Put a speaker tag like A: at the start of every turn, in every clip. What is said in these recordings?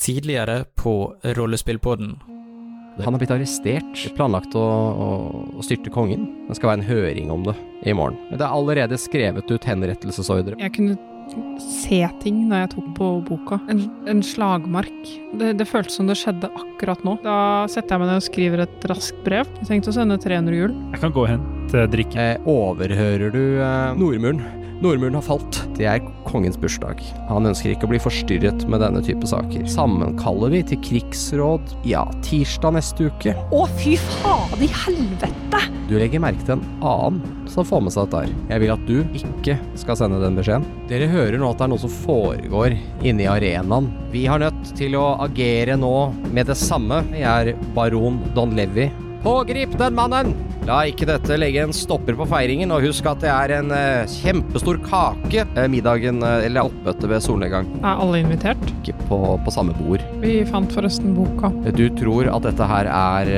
A: tidligere på Rollespillpodden.
B: Han er blitt arrestert. Planlagt å, å, å styrte kongen. Det skal være en høring om det i morgen. Det er allerede skrevet ut henrettelsesordre.
C: Jeg kunne se ting da jeg tok på boka. En, en slagmark. Det, det føltes som det skjedde akkurat nå. Da setter jeg meg ned og skriver et raskt brev. Jeg tenkte å sende 300 hjul.
D: Jeg kan gå hen til drikken.
B: Eh, overhører du eh, Nordmuren? Nordmuren har falt. Det er kongens bursdag. Han ønsker ikke å bli forstyrret med denne type saker. Sammenkaller vi til krigsråd ja, tirsdag neste uke.
E: Å, fy faen i helvete!
B: Du legger merke til en annen som får med seg dette her. Jeg vil at du ikke skal sende den beskjeden. Dere hører nå at det er noe som foregår inne i arenaen. Vi har nødt til å agere nå med det samme. Jeg er baron Don Levi. Pågrip den mannen! La ikke dette legge en stopper på feiringen, og husk at det er en eh, kjempestor kake eh, middagen, eh, eller oppmøtet ved solnedgang.
C: Er alle invitert?
B: Ikke på, på samme bord.
C: Vi fant forresten boka.
B: Du tror at dette her er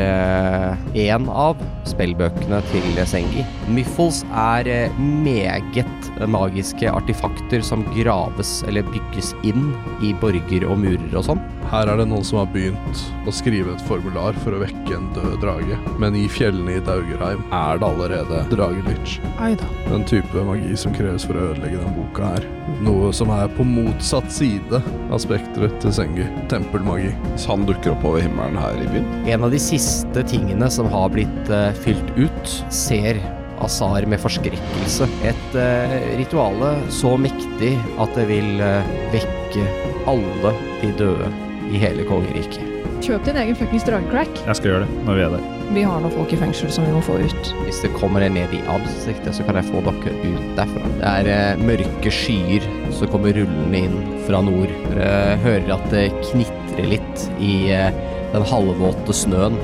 B: én av spillbøkene til Sengi. Miffles er eh, meget magiske artefakter som graves eller bygges inn i borger og murer og sånn.
F: Her er det noen som har begynt å skrive et formular for å vekke en død drage. Men i fjellene i Daugerheim er det allerede dragelich.
C: Ai da.
F: Den type magi som kreves for å ødelegge den boka her. Noe som er på motsatt side av spekteret til Sengi. Tempelmagi.
G: Så han dukker opp over himmelen her i byen.
B: En av de siste tingene som har blitt eh, fylt ut, ser Azar med forskrekkelse. Et eh, rituale så mektig at det vil eh, vekke alle de døde i hele kongeriket.
H: Kjøp din egen fuckings dragecrack.
D: Jeg skal gjøre det når vi er der.
H: Vi har noen folk i fengsel som vi må få ut.
B: Hvis det kommer en ned i ansiktet, så kan jeg få dere ut derfra. Det er eh, mørke skyer som kommer rullende inn fra nord. Dere eh, hører at det knitrer litt i eh, den halvvåte snøen,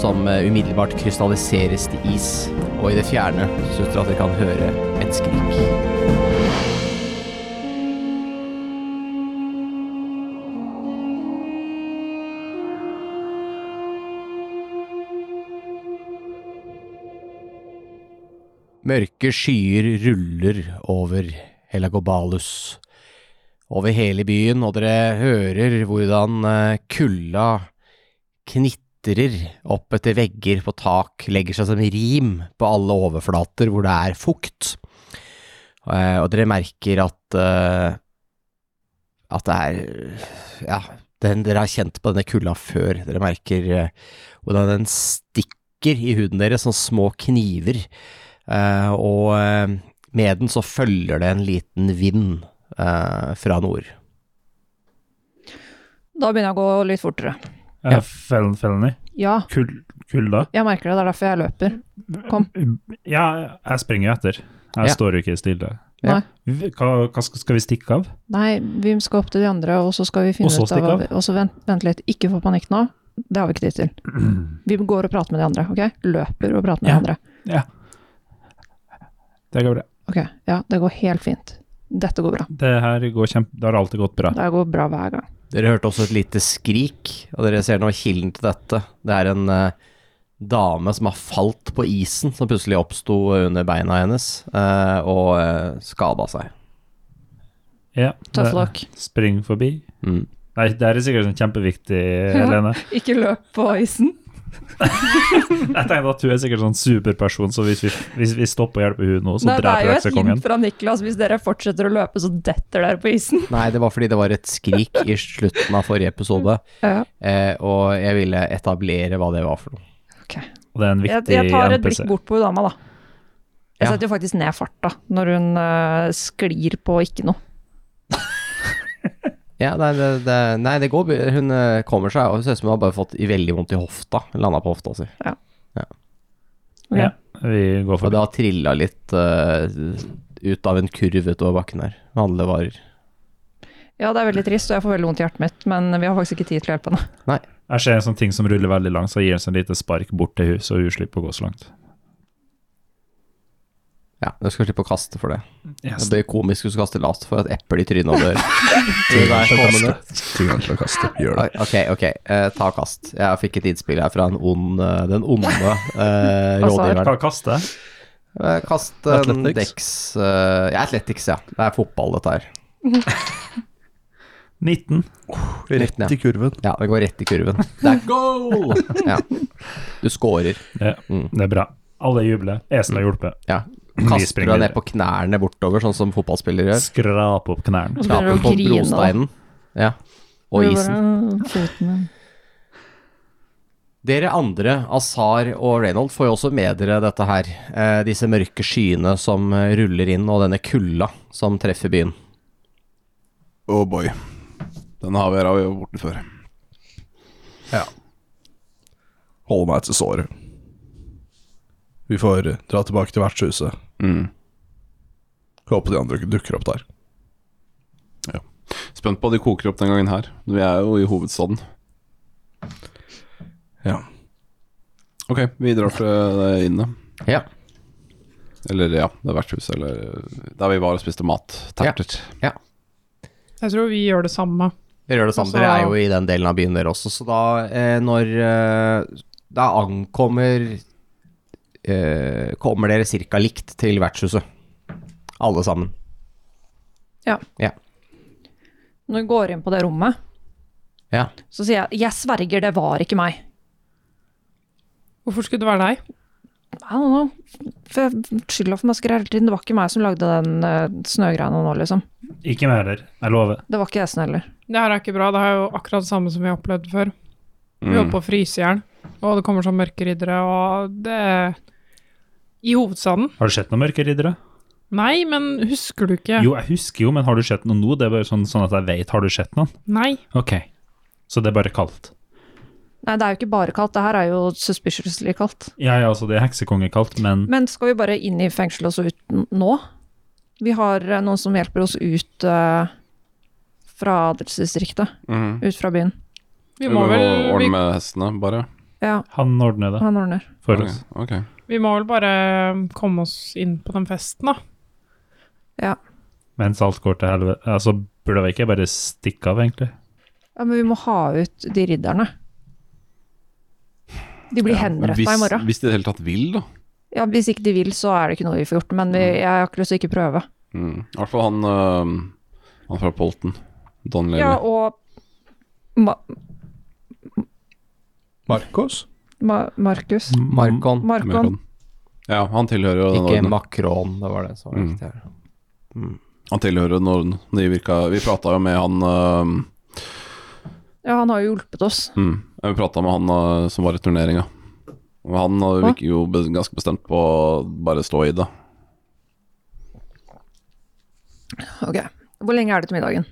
B: som eh, umiddelbart krystalliseres til is. Og i det fjerne syns dere at dere kan høre et skrik. Mørke skyer ruller over Helagobalus, over hele byen, og dere hører hvordan eh, kulda knitrer opp etter vegger på tak, legger seg som rim på alle overflater hvor det er fukt, Eh, og dere merker at eh, at det er ja, den, dere har kjent på denne kulda før, dere merker eh, hvordan den stikker i huden deres som små kniver. Eh, og eh, med den så følger det en liten vind eh, fra nord.
H: Da begynner jeg å gå litt fortere.
D: Eh, Fel, felony.
H: Ja,
D: Kull, kulda.
H: jeg merker det. Det er derfor jeg løper.
D: Ja, jeg springer jo etter. Jeg
B: Ja.
D: står jo ikke stille.
H: Nei.
D: Vi- Hva, hva skal, skal vi stikke av?
H: Nei, vi skal opp til de andre, og så skal vi finne
D: Og så
H: ut av
D: stikke
H: hva
D: av?
H: vi- Og så vent, vent litt. Ikke få panikk nå. Det har vi ikke tid til. Vi går og prater med de andre, ok? Løper og prater med
D: Ja.
H: de andre.
D: Det går bra.
H: Ok, ja, det går helt fint. Dette går bra.
D: Det her går kjempe... Det har alltid gått bra.
H: Det går bra hver gang.
B: Dere hørte også et lite skrik, og dere ser nå kilden til dette. Det er en eh, dame som har falt på isen, som plutselig oppsto under beina hennes eh, og uh, skada seg.
D: Ja,
H: Tough
D: det-
H: luck.
D: Spring forbi.
B: Mm.
D: Nei, det her er sikkert sånn kjempeviktig,
H: Ja.
D: Helene.
H: Ikke løp på isen.
D: Jeg tenkte at hun er sikkert sånn superperson, så hvis vi, hvis vi stopper og hjelper hun nå, så
H: Nei, det er
D: dreper
H: jo
D: dere
H: et
D: seg
H: hint
D: kongen.
H: fra Niklas. Hvis dere fortsetter å løpe, så detter dere på isen.
B: Nei, det var fordi det var et skrik i slutten av forrige episode,
H: Ja.
B: eh, og jeg ville etablere hva det var for noe.
D: Og det er en
H: Jeg,
D: viktig
H: jeg tar et
D: NPC.
H: blikk bort på dama, da. Jeg
B: Ja.
H: setter jo faktisk ned farta når hun eh, sklir på ikke noe.
B: Ja, nei, det, det, nei, det går. b- Hun eh, kommer seg, og det ser ut som hun har bare fått i veldig vondt i hofta. Landa på hofta si.
D: Ja, vi går
B: Og
D: forbi.
B: det har trilla litt eh, ut av en kurv utover bakken her. med Handlevarer.
H: Ja, det er veldig trist, og jeg får veldig vondt i hjertet mitt, men vi har faktisk ikke tid til å hjelpe henne.
D: Jeg ser en sånn ting som ruller veldig langt, så jeg gir en sånn lite spark bort til hun, så hun slipper å gå så langt.
B: Ja, du skal slippe å kaste for det.
D: Yes.
B: Det blir komisk hvis du kaster last for et eple i trynet og dør. Det der kommende.
F: Tingene til å kaste. Gjør det.
B: Oi, Ok, ok, eh, ta kast. Jeg fikk et innspill her fra en ond, eh, den onde eh,
H: Altså,
B: rådgiveren.
D: Hva kaster jeg?
B: Eh, Kast eh, en
F: Athletics?
B: dex eh, ja, Athletics, ja. Det er fotball, dette her.
D: 19.
B: Rett ned.
F: Rett i kurven.
B: Ja, det går rett i kurven. Det er goal! Ja. Du scorer.
D: Det er bra. Alle jubler. Esen har hjulpet.
B: Ja.
D: Vi
B: Kaster
D: springer
B: deg ned på knærne bortover, sånn som fotballspillere gjør.
D: Skrap opp knærne.
H: Og så
B: Knapen
H: begynner du
B: på
H: å grine. da.
B: brosteinen. Ja. Og
H: Det er
B: isen.
H: bare Foten min.
B: Dere andre, Azar og Reynold, får jo også med dere dette her. Eh, disse mørke skyene som eh, ruller inn, og denne kulda som treffer byen.
G: Oh boy. Den har vi her har vi vært borte før.
F: Ja.
G: Holder meg til såret.
F: Vi får dra tilbake til vertshuset.
G: Mm.
F: Jeg Håper de andre ikke dukker opp der.
G: Spent på hva de koker opp den gangen her. Vi er jo i hovedstaden. Ja. Ok, vi drar til det inne.
B: Ja.
G: Eller ja, det er vertshuset, eller der vi var og spiste mat. Terter.
C: Jeg tror vi gjør det samme.
B: Dere gjør det
H: Altså-
B: samme.
C: Og så-
B: Dere er jo i den delen av byen dere også, så da eh, når eh, Da ankommer eh, Kommer dere cirka likt til vertshuset. Alle sammen.
H: Når jeg går inn på det rommet,
B: Ja.
H: så sier jeg 'jeg sverger, det var ikke meg'.
C: Hvorfor skulle det være deg?
H: I don't know. For jeg skylder for masker hele tiden. Det var ikke meg som lagde den uh, snøgreia nå, liksom.
D: Ikke meg heller. Jeg lover.
H: Det var ikke Esen heller.
C: Det her er ikke bra. Det er jo akkurat det samme som vi har opplevd før. Vi
G: Mm.
C: holdt på å fryse i hjel, og det kommer sånn mørkeriddere, og det I hovedstaden?
D: Har du sett noen mørke riddere?
C: Nei, men husker du ikke?
D: Jo, jeg husker jo, men har du sett noen nå? Det er bare sånn, sånn at jeg vet. Har du sett noen?
C: Nei.
D: Ok. Så det er bare kaldt.
H: Nei, det er jo ikke bare kaldt. Det her er jo suspiciously kaldt.
D: Ja, ja, altså det er heksekongekaldt, men
H: Men skal vi bare inn i fengselet og så ut n- nå? Vi har eh, noen som hjelper oss ut eh, fra adelsdistriktet.
G: Mhm.
H: Ut fra byen.
C: Vi
G: Vi
C: må
G: må
C: vel, vi,
G: ordne med hestene, bare.
H: Ja,
D: han ordner det
H: han ordner.
D: for
G: Ok,
D: oss.
G: ok.
C: vi må vel bare komme oss inn på den festen, da.
D: Mens alt går til helvete. Altså, burde vi ikke bare stikke av, egentlig?
H: Ja, men vi må ha ut de ridderne. De blir
G: Ja,
H: henretta
G: hvis-
H: i morgen.
G: Hvis de i det hele tatt vil, da.
H: Ja, Hvis ikke de vil, så er det ikke noe vi får gjort. Men vi, jeg har ikke lyst til å ikke prøve.
G: Mm. I hvert fall han, øh, han fra Polten. Don Levy.
H: Ja, og Ma
F: Marcos?
H: Ma Markus
G: Mm.
B: Markon.
H: Markon.
G: Ja, han tilhører jo den
B: Ikke
G: ordenen.
B: Makron, det var det som var
G: Mm.
B: riktig her.
G: Han tilhører den ordenen. De virka Vi prata jo med han øh,
H: Ja, han har jo hjulpet oss.
G: mm, Vi prata med han øh, som var i turneringa. Og han øh, virker jo be- ganske bestemt på å bare stå i det.
H: Ok. Hvor lenge er det til middagen?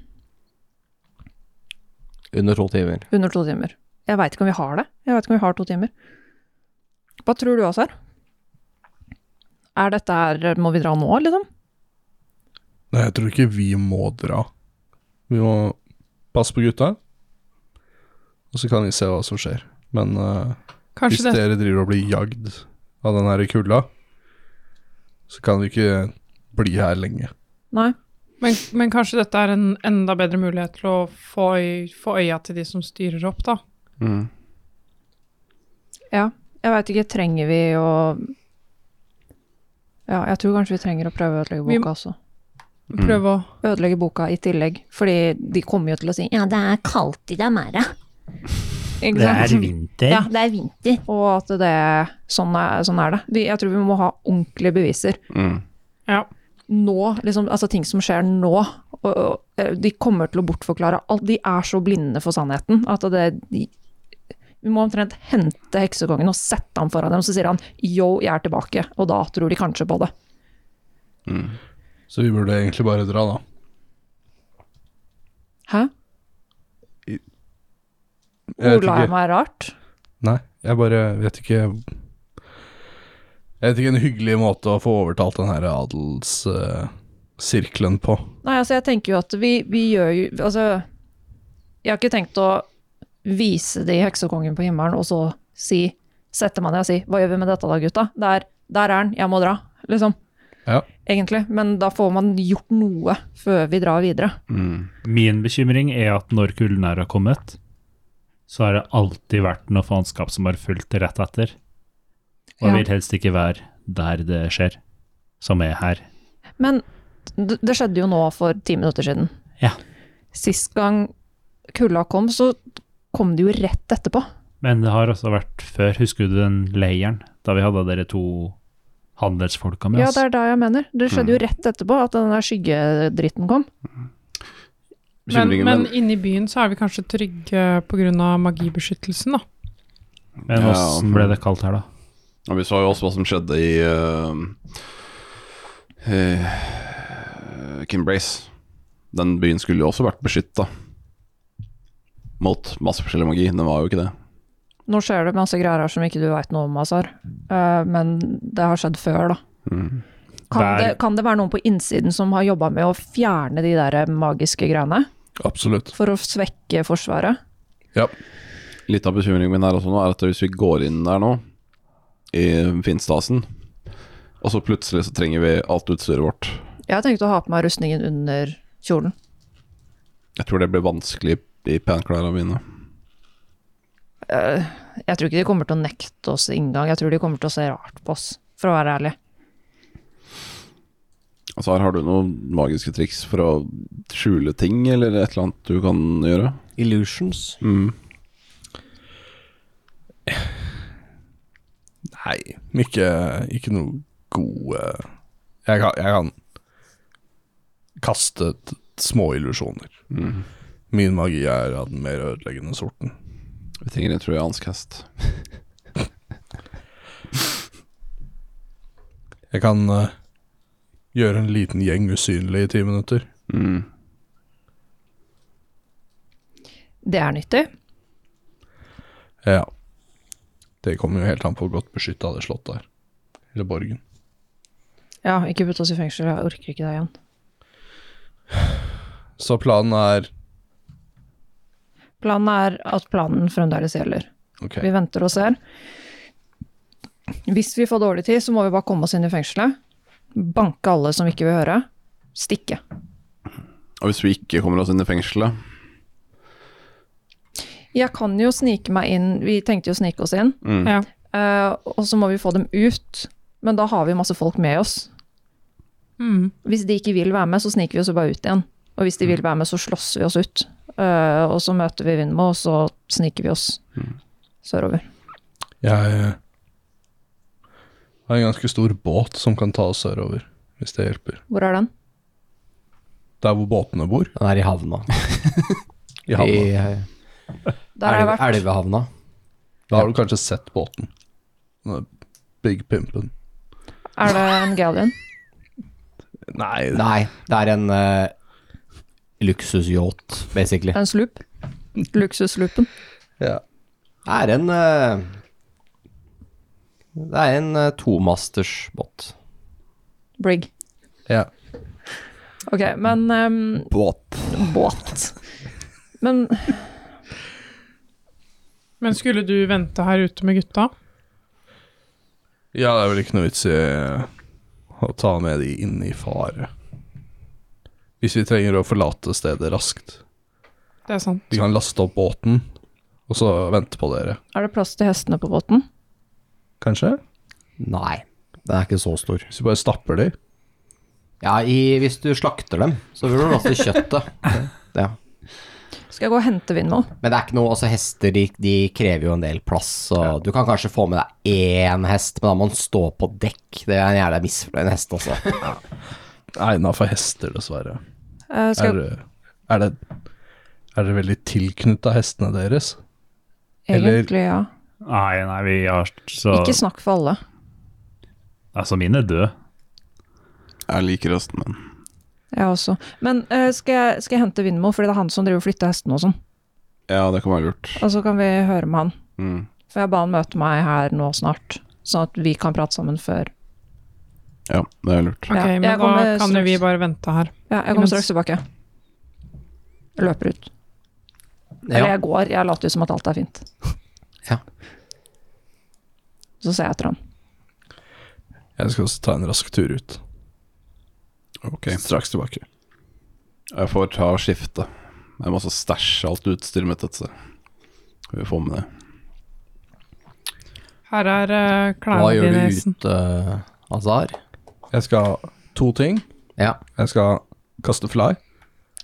B: Under to timer.
H: Under to timer. Jeg veit ikke om vi har det. Jeg vet ikke om vi har to timer. Hva tror du, Azar? Er dette her Må vi dra nå, liksom?
F: Nei, jeg tror ikke vi må dra. Vi må passe på gutta, og så kan vi se hva som skjer. Men eh, hvis
C: Kanskje det
F: dere driver og blir jagd av den her kulda, så kan vi ikke bli her lenge.
H: Nei.
C: men, men kanskje dette er en enda bedre mulighet til å få, øy, få øya til de som styrer opp, da.
H: Ja. Jeg veit ikke. Trenger vi å Ja, jeg tror kanskje vi trenger å prøve å ødelegge
C: Vi-
H: boka også.
C: Prøve å
H: Ødelegge boka i tillegg. Fordi de kommer jo til å si Ja, det er kaldt i Damara. Ikke sant?
D: vinter.
H: Ja, det er vinter. Og at det Sånn er, sånn er det. Vi, jeg tror vi må ha ordentlige beviser.
G: Mm.
C: Ja.
H: Nå, liksom, altså ting som skjer nå. Og, og eh, de kommer til å bortforklare alt. De er så blinde for sannheten at det de, Vi må omtrent hente heksekongen og sette ham foran dem, så sier han yo, jeg er tilbake. Og da tror de kanskje på det.
F: Så vi burde egentlig bare dra, da.
H: Hæ?
F: Jeg vet
H: Ola
F: ikke-
H: er meg rart?
F: Nei, jeg bare vet ikke Jeg vet ikke en hyggelig måte å få overtalt den her adelssirkelen på.
H: Nei, altså jeg tenker jo at vi, vi gjør jo Altså, jeg har ikke tenkt å vise de heksekongen på himmelen og så si Sette meg ned og si 'hva gjør vi med dette da, gutta'? Der, der er den, jeg må dra, liksom.
F: Ja.
H: Egentlig. Men da får man gjort noe før vi drar videre.
G: Mm.
D: Min bekymring er at når kulden her har kommet, så har det alltid vært noe faenskap som har fulgt rett etter. Og
H: Ja.
D: jeg vil helst ikke være der det skjer, som er her.
H: Men d- det skjedde jo nå for ti minutter siden.
D: Ja.
H: Sist gang kulda kom, så kom det jo rett etterpå.
D: Men det har også vært før. Husker du den leiren da vi hadde dere to handelsfolka med
H: Ja,
D: oss?
H: det er da jeg mener. Det skjedde
D: Mm.
H: jo rett etterpå at den der skyggedritten kom.
C: Men,
G: Bekymringen
C: men
G: min-
C: inne i byen så er vi kanskje trygge pga. magibeskyttelsen, da.
D: Men
G: Ja,
D: åssen
G: ja.
D: ble det kalt her, da?
G: Ja, vi så jo også hva som skjedde i eh, eh, Kimbrace. Den byen skulle jo også vært beskytta mot masse forskjellig magi. Den var jo ikke det.
H: Nå skjer det masse greier her som ikke du veit noe om, Azar. Eh, men det har skjedd før, da.
G: Mm.
H: Kan
D: Det
H: det,
D: er-
H: kan det være noen på innsiden som har jobba med å fjerne de der eh, magiske greiene?
F: Absolutt.
H: For å svekke Forsvaret?
G: Litt av bekymringen min her også nå er at hvis vi går inn der nå, i Finstasen, og så plutselig så trenger vi alt utstyret vårt
H: Jeg tenkte å ha på meg rustningen under kjolen.
G: Jeg tror det blir vanskelig i penklærne mine.
H: Eh, jeg tror ikke de kommer til å nekte oss inngang, jeg tror de kommer til å se rart på oss, for å være ærlig.
G: Altså her har du noen magiske triks for å skjule ting, eller et eller annet du kan gjøre?
B: Illusions.
G: Mm.
F: Nei, ikke, ikke noe gode Jeg kan, jeg kan kaste t- små illusjoner.
G: Mm.
F: Min magi er av den mer ødeleggende sorten.
G: Vi trenger en trojansk hest.
F: Jeg kan eh, gjøre en liten gjeng usynlig i ti minutter.
G: Mm.
H: Det er nyttig.
F: Ja. Det kommer jo helt an på hvor godt beskytta det slottet er. Eller borgen.
H: Ja, ikke putt oss i fengsel, jeg orker ikke det igjen.
F: Så planen er
H: Planen er at planen fremdeles gjelder.
F: Ok,
H: Vi venter og ser. Hvis vi får dårlig tid, så må vi bare komme oss inn i fengselet. Banke alle som ikke vil høre. Stikke.
G: Og hvis vi ikke kommer oss inn i fengselet
H: Jeg kan jo snike meg inn, vi tenkte jo å snike oss inn,
G: mm.
C: Ja.
H: eh, og så må vi få dem ut. Men da har vi masse folk med oss.
C: Mm.
H: Hvis de ikke vil være med, så sniker vi oss jo bare ut igjen. Og hvis de vil være med, så slåss vi oss ut. Eh, og så møter vi Vindmo, og så sniker vi oss sørover.
F: Jeg eh, har en ganske stor båt som kan ta oss sørover, hvis det hjelper.
H: Hvor er den?
F: Der hvor båtene bor.
B: Den er i havna.
F: I havna.
B: eh,
H: Der har jeg
B: elve-
H: vært.
B: Elvehavna.
F: Da har du kanskje sett båten. Den er Big Pimpen.
H: Er det en galleon?
F: Nei,
B: Nei, det er en eh, luksusyacht, basically.
H: En slup? Luksusslupen?
F: Ja.
B: Det er en eh, Det er en eh, tomasters båt.
H: Brig.
F: ja.
H: Ok, men ehm,
B: Båt.
H: båt. Men
C: Men skulle du vente her ute med gutta?
F: Ja, det er vel ikke noe vits i eh, å ta med de inn i fare. Hvis vi trenger å forlate stedet raskt.
C: Det er sant.
F: Vi kan laste opp båten, og så vente på dere.
H: er det plass til hestene på båten?
F: Kanskje?
B: Nei, den er ikke så stor.
F: Hvis vi bare stapper de.
B: Ja, i, hvis du slakter dem, så vil du også kjøttet. Ja.
H: Skal jeg gå og hente Vindmo?
B: Men det er ikke noe, altså hester de, de krever jo en del plass, så du kan kanskje få med deg én hest, men da må den stå på dekk. Det er en jævla misfornøyd hest, altså.
F: Egna for hester, dessverre.
H: Eh,
F: Er,
H: skal jeg,
F: er det Er dere veldig tilknytta hestene deres? eller-
H: egentlig, ja.
D: Nei, nei, vi har så
H: Ikke snakk for alle.
D: Altså, mine er døde.
G: Jeg liker høsten min.
H: Jeg også. Men eh, skal, jeg, skal jeg hente Vindmo, fordi det er han som driver og flytter hestene og sånn.
G: Ja, det kan være lurt.
H: Og så kan vi høre med han.
G: Mm.
H: For jeg ba han møte meg her nå snart, sånn at vi kan prate sammen før.
G: Ja, det er lurt.
C: Ok,
H: Ja, jeg
C: men da
H: kommer
C: kan jo
H: straks.
C: vi bare vente her.
H: Ja, jeg kommer straks tilbake. Jeg løper ut. Eller
B: Ja.
H: jeg går, jeg later jo som at alt er fint.
B: Ja.
H: Så ser jeg etter han.
F: Jeg skal også ta en rask tur ut.
G: Ok.
F: Straks tilbake.
G: Jeg får ta og skifte. Jeg må også stæsje alt utstyret mitt et sted. Skal vi få med det.
C: Her er eh,
B: Hva
C: klærne
B: gjør
C: dine,
B: du
C: Hesten.
B: ute, Azar?
F: Jeg skal ha to ting.
B: Ja.
F: Jeg skal kaste fly,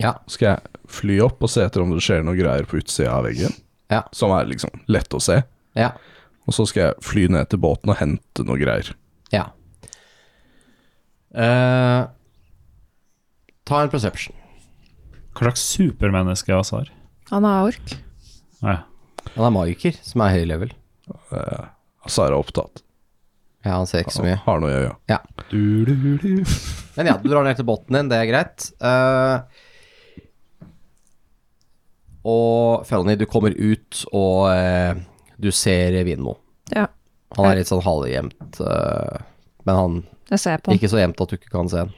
B: Ja.
F: Skal jeg fly opp og se etter om det skjer noe greier på utsida av veggen,
B: Ja.
F: som er liksom lett å se.
B: Ja.
F: Og så skal jeg fly ned til båten og hente noe greier.
B: ja. Eh, ta en perception.
D: Hva slags supermenneske er Azar?
H: Han er ork.
D: Nei.
B: Han er magiker, som er høy level.
F: Altså er jeg opptatt.
B: Ja, han ser ikke så mye.
F: Har noe i øya.
B: Ja. Men ja, du drar ned til båten din, det er greit. Eh, og Felony, du kommer ut, og eh, du ser Vinmo.
H: Ja,
B: Han er litt sånn halvgjemt, eh, men han
H: jeg ser på han.
B: ikke så gjemt at du ikke kan se han.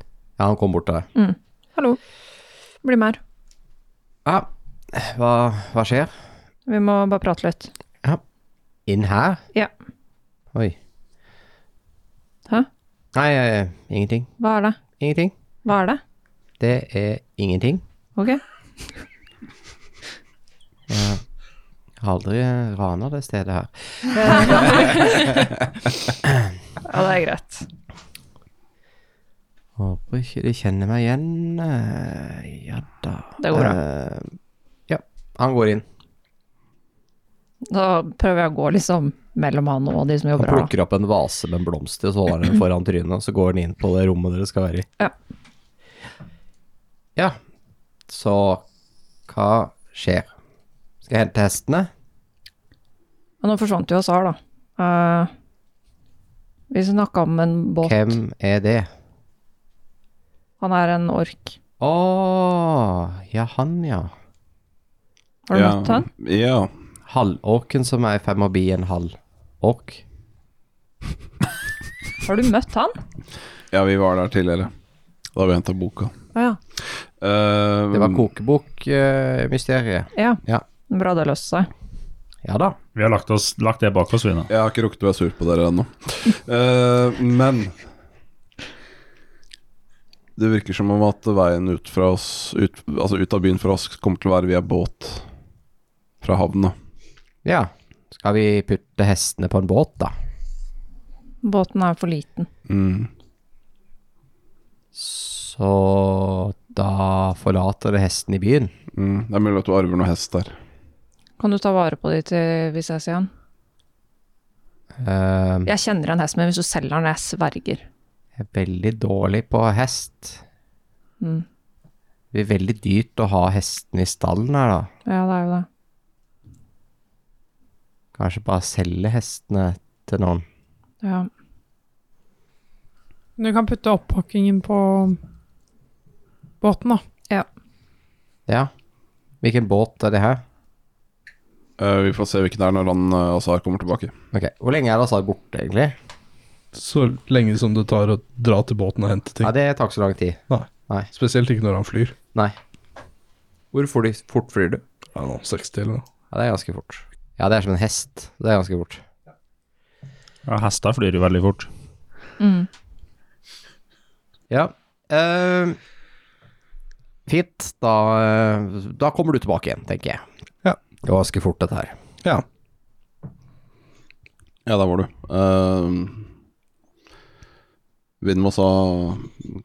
B: Ja, han kom bort til deg.
H: Hallo. Bli med her.
B: Ja, hva, hva skjer?
H: Vi må bare prate litt.
B: Inn her?
H: Ja.
B: Oi.
H: Hæ?
B: Nei, eh, ingenting.
H: Hva er det?
B: Ingenting.
H: Hva er det?
B: Det er ingenting.
H: Ok.
B: Jeg har aldri rana det stedet her.
H: Ja, det er greit.
B: Håper ikke de kjenner meg igjen. Eh, Ja da.
H: Det går bra.
B: Eh, Ja, han går inn.
H: Da prøver jeg å gå liksom mellom han og de som
B: Han
H: jobber her. da.
B: plukker opp en vase med en blomster, så holder han den foran trynet, og så går han inn på det rommet dere skal være i.
H: Ja.
B: Ja, så hva skjer? Skal jeg hente hestene?
H: Og nå forsvant jo Azar, da. Eh, vi snakka om en båt.
B: Hvem er det?
H: Han er en ork.
B: Å, ja han ja.
H: Har du møtt han?
G: Ja.
B: Halvorken som er i ferd med å bli en halvork.
H: Har du møtt han?
G: ja, vi var der tidligere. Da vi henta boka.
H: Å ja.
G: Eh,
B: Det var eh, kokebok-mysteriet.
H: ja.
B: Ja.
H: Bra det løste seg.
B: ja da.
D: Vi har lagt, oss, lagt det bak oss, vi nå.
G: Jeg har ikke rukket å være sur på dere ennå. Eh, men det virker som om at veien ut, fra oss, ut, altså ut av byen for oss kommer til å være via båt fra havna.
B: Ja. Skal vi putte hestene på en båt, da?
H: Båten er for liten.
G: Mm.
B: Så da forlater det hesten i byen.
G: Mm. Det er mulig at du arver noe hest der.
H: Kan du ta vare på de til vi ses igjen?
B: Ehm,
H: Jeg kjenner en hest, men hvis du selger den, jeg sverger.
B: Jeg er veldig dårlig på hest.
H: Mm.
B: Det blir veldig dyrt å ha hestene i stallen her, da.
H: Ja, det er jo det.
B: Kanskje bare selge hestene til noen.
H: Ja.
C: Du kan putte opphokkingen på båten, da.
B: Ja. Hvilken båt er det her?
G: Eh, vi får se hvilken det er når han eh, Azar kommer tilbake.
B: Ok, Hvor lenge er Lazar borte, egentlig?
F: Så lenge som det tar å dra til båten og hente ting.
B: Ja, Det tar ikke så lang tid.
F: Spesielt ikke når han flyr.
B: Hvor fort flyr du?
F: Jeg vet ikke, 60 eller noe.
B: Ja, Det er ganske fort. Ja, det er som en hest. Det er ganske fort.
D: Ja, Hester flyr jo veldig fort.
H: Mm.
B: Ja. Ehm, fint. Da, eh, da kommer du tilbake igjen, tenker jeg.
F: Ja.
B: Det var ganske fort, dette her.
F: Ja.
G: Ja, der var du. Eh, Vindmo sa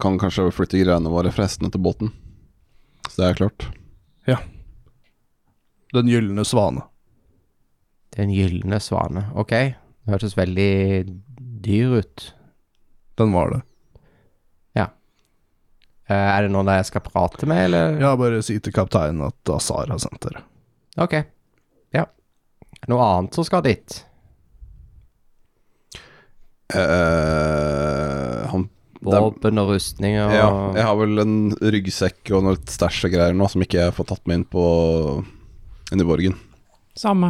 G: kan kanskje flytte greiene våre fra hestene til båten. Så det er klart.
F: Den gylne svane.
B: Den gylne svane. Ok, det hørtes veldig dyr ut.
F: Den var det.
B: Eh, er det noen jeg skal prate med, eller?
F: Ja, bare si til kapteinen at Azar har sendt dere.
B: Ok. Ja. Noe annet som skal dit?
G: Eh, han
B: Våpen og rustninger og
G: Ja, jeg har vel en ryggsekk og noe stæsj og greier nå som ikke jeg får tatt med inn på inn i borgen.
C: Samme.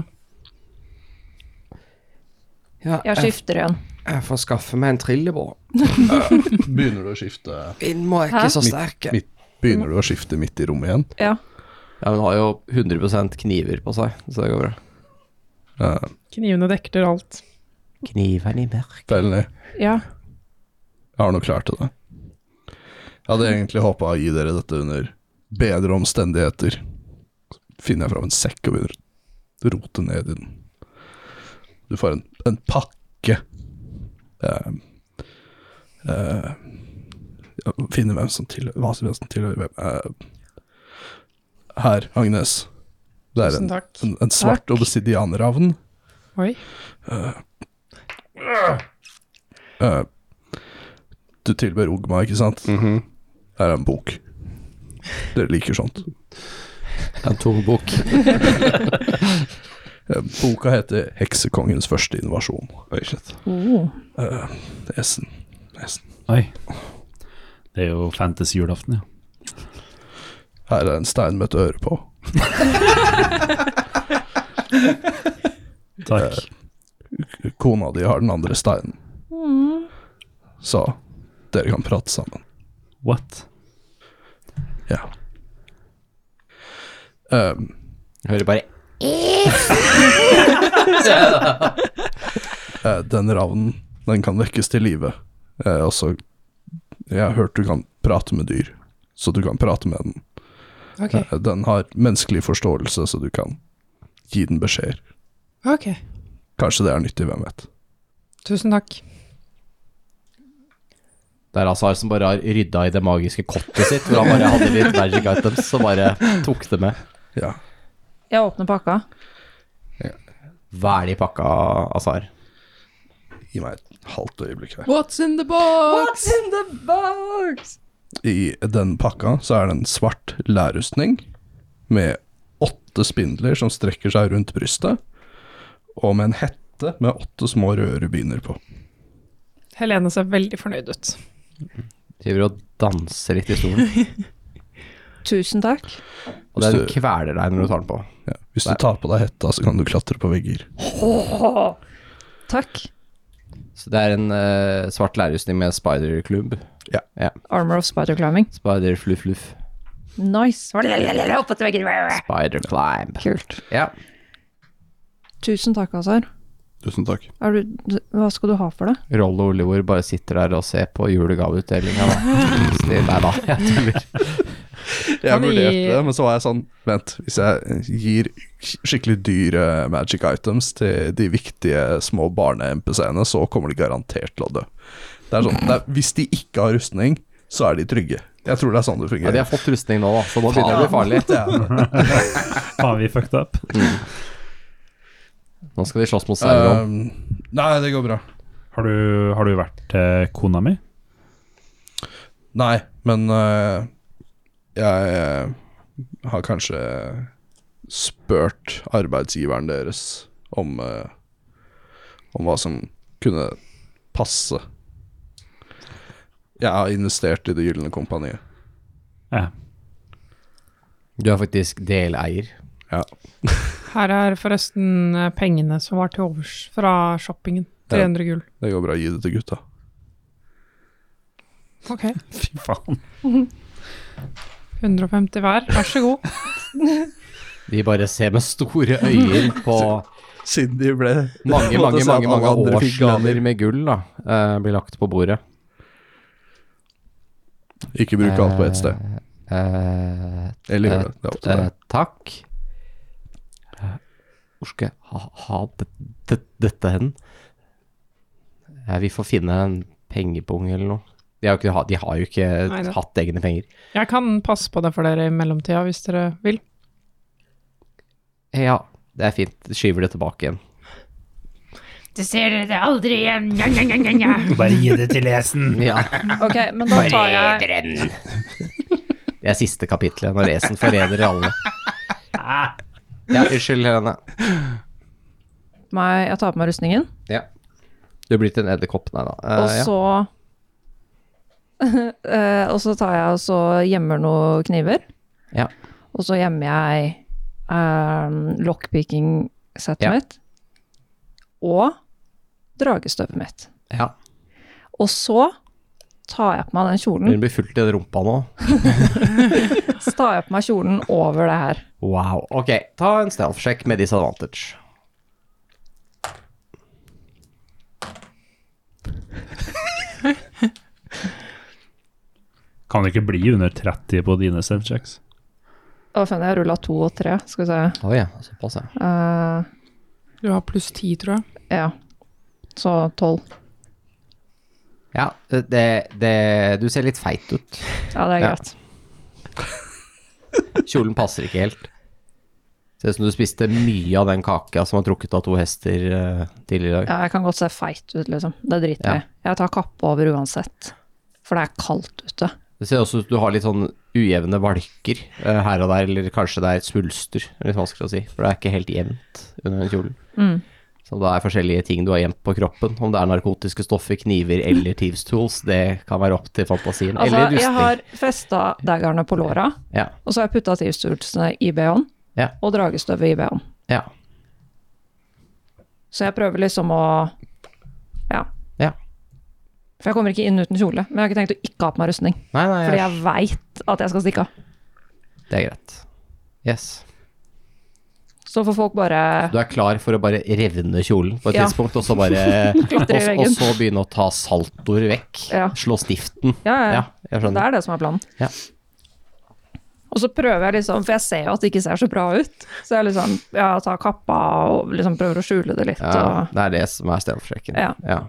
B: Ja,
H: Jeg
B: jeg,
H: skifter igjen.
B: jeg får skaffe meg en trillebår.
F: Begynner du å skifte
B: Vind må
H: Hæ?
B: ikke så
F: Mitt-
B: sterke.
F: mitt- Begynner du å skifte midt i rommet igjen?
H: Ja.
B: Ja, hun har jo 100 kniver på seg, så det går bra.
F: Eh,
C: Knivene dekker alt.
B: Knivene i mørket.
F: Felny,
H: ja.
F: jeg har noe klart til deg. Jeg hadde egentlig håpa å gi dere dette under bedre omstendigheter. Så finner jeg fram en sekk og begynner å rote ned i den. Du får en, en pakke. Eh, eh, finne hvem som tilhører hva som hvem som tilhører hvem. Eh, her, Agnes. Det er
C: Tusen
F: en,
C: takk.
F: en, en svart
H: Takk.
F: obsidianravn.
C: Oi.
F: Eh, du tilber Ogma, ikke sant? Her er en bok. Dere liker sånt.
G: En tung bok.
F: Eh, Boka heter 'Heksekongens første invasjon'. Eh,
G: Oi, shit.
H: Oh.
F: Esen. Esen.
D: Oi. Det er jo fantasy-julaften, ja.
F: Her er en stein med et øre på.
D: Takk.
F: Kona di har den andre steinen. Så dere kan prate sammen.
D: What?
F: Ja. Ehm,
B: Hører bare
F: eh, den ravnen, den kan vekkes til live. Eh, og så Jeg har hørt du kan prate med dyr, så du kan prate med den.
C: Ok.
F: Eh, den har menneskelig forståelse, så du kan gi den beskjeder.
C: ok.
F: Kanskje det er nyttig, hvem vet.
C: Tusen takk.
B: Det er Azar som bare har rydda i det magiske kottet sitt, hvor han bare hadde litt magic items og bare tok det med.
F: Ja.
H: Jeg åpner pakka.
B: Hva er det i pakka, Azar?
F: Gi meg et halvt øyeblikk her.
C: What's in the box?
H: in the box?
F: I den pakka så er det en svart lærrustning med åtte spindler som strekker seg rundt brystet, og med en hette med åtte små røde rubyner på.
C: Helene ser veldig fornøyd ut.
B: Driver og danser litt i stolen,
H: Tusen takk.
B: og den kveler deg når du tar den på.
F: Ja. Hvis du tar på deg hetta, så kan du klatre på vegger.
H: Takk.
B: Så det er en eh, svart lærrustning med spider-klubb.
F: Ja.
H: Armor of spider climbing.
B: Spider-fluff-fluff.
H: Nice.
B: Spider-climb.
H: Kult.
B: Ja.
H: Tusen takk, Azar.
G: Tusen takk.
H: Er du, du- hva skal du ha for det?
B: Rollo og Olivor bare sitter der og ser på julegaveutdelinga, da. Stil deg, da. Jeg tuller.
F: Jeg
C: Kan vi-
F: vurderte det, men så var jeg sånn Vent, hvis jeg gir skikkelig dyre magic items til de viktige små barne-MPC-ene, så kommer de garantert til å dø. Det er sånn, det er, Hvis de ikke har rustning, så er de trygge. Jeg tror det er sånn det
B: Ja,
F: fungerer.
B: de har fått rustning nå, da, så nå begynner det å bli farlig.
F: farlig.
D: Faen, vi fucked up.
B: Nå skal de slåss mot Sauron.
F: um, nei, det går bra.
D: Har du, har du vært til kona mi?
F: Nei, men øh, jeg øh, har kanskje spurt arbeidsgiveren deres om, øh, om hva som kunne passe. Jeg har investert i Det gylne kompaniet.
D: Ja.
B: Du er faktisk deleier.
F: Ja.
C: Her er forresten eh, pengene som var til overs fra shoppingen. 300 gull.
F: Det går bra å gi det til gutta.
C: Ok.
D: Fy faen.
C: 150 hver. Vær så god.
B: De bare ser med store øyer på
F: Siden de ble
B: mange, mange, mange, mange årslaner med gull, da, eh, blir lagt på bordet.
F: Ikke bruke alt på ett sted.
B: Eh,
F: Eller
B: eh,
F: gjør det. Det er opp til
B: eh,
F: deg.
B: takk. Eh, Hvor skal jeg ha, ha det, det, dette hen? Eh, vi får finne en pengebong eller noe. De har jo ikke, ha- de har jo ikke
C: Nei, det-
B: hatt egne penger.
C: Jeg kan passe på det for dere i mellomtida hvis dere vil.
B: Eh, Ja, det er fint. Skyver det tilbake igjen.
E: Det ser dere det aldri igjen. Nja, nja, nja, nja, nja.
D: Bare gi det til Esen.
B: Ja.
H: Ok, men da tar jeg
B: Det er siste kapitlet, når Esen forræder alle. Ja, unnskyld, Helene.
H: meg, jeg tar på meg rustningen,
B: Ja. Du blir til en edderkopp, nei da. Eh,
H: og så Eh, Og så tar jeg og så gjemmer noen kniver.
B: Ja.
H: Og så gjemmer jeg um, lockpicking-settet
B: Ja.
H: mitt og dragestøvet mitt.
B: ja. ja.
H: Og så tar jeg på meg den kjolen,
B: Hun blir fullt i den rumpa nå.
H: så tar jeg på meg kjolen over det her.
B: Wow. Ok, ta en stealth-sjekk med disadvantage.
D: Kan det ikke bli under 30 på dine stemchecks?
H: Og funnet jeg rulla to og tre, skal vi se.
B: Oi, ja, såpass, ja.
H: Eh,
C: Du har pluss 10, tror jeg.
H: ja. Så tolv.
B: Ja, det, det Du ser litt feit ut.
H: Ja, det er
B: Ja.
H: greit.
B: Kjolen passer ikke helt. Ser ut som du spiste mye av den kaka som var trukket av to hester eh, tidligere i dag.
H: Ja, jeg kan godt se feit ut, liksom. Det driter jeg i. Jeg tar kappe over uansett. For det er kaldt ute.
B: Det ser også ut som du har litt sånn ujevne valker eh, her og der, eller kanskje det er et svulster. Det er Litt vanskelig å si, for det er ikke helt jevnt under den kjolen.
H: Mm.
B: Så det er forskjellige ting du har gjemt på kroppen. Om det er narkotiske stoffer, kniver eller thieves-tools, det kan være opp til fantasien.
H: Altså,
B: eller
H: jeg
B: rustning.
H: har festa daggerne på låra,
B: Ja,
H: og så har jeg putta tivstulsene i BH-en,
B: Ja.
H: og dragestøvet i BH-en.
B: ja,
H: Så jeg prøver liksom å Ja.
B: ja.
H: For jeg kommer ikke inn uten kjole. Men jeg har ikke tenkt å ikke ha på meg rustning.
B: Nei, nei,
H: Fordi
B: jeg,
H: jeg veit at jeg skal stikke av.
B: det er greit. Yes.
H: Så får folk bare
B: Du er klar for å bare revne kjolen på et
H: Ja.
B: tidspunkt, og så bare og,
H: Klatre i
B: og
H: veggen.
B: så begynne å ta saltoer vekk.
H: Ja.
B: Slå stiften.
H: Ja, ja, ja.
B: Ja, jeg
H: Det
B: skjønner.
H: er det som er planen.
B: Ja.
H: Og så prøver jeg liksom, for jeg ser jo at det ikke ser så bra ut, så jeg liksom ja, tar kappa og liksom prøver å skjule det litt.
B: Ja,
H: Og,
B: det er det som er straffesjekken.
H: Ja.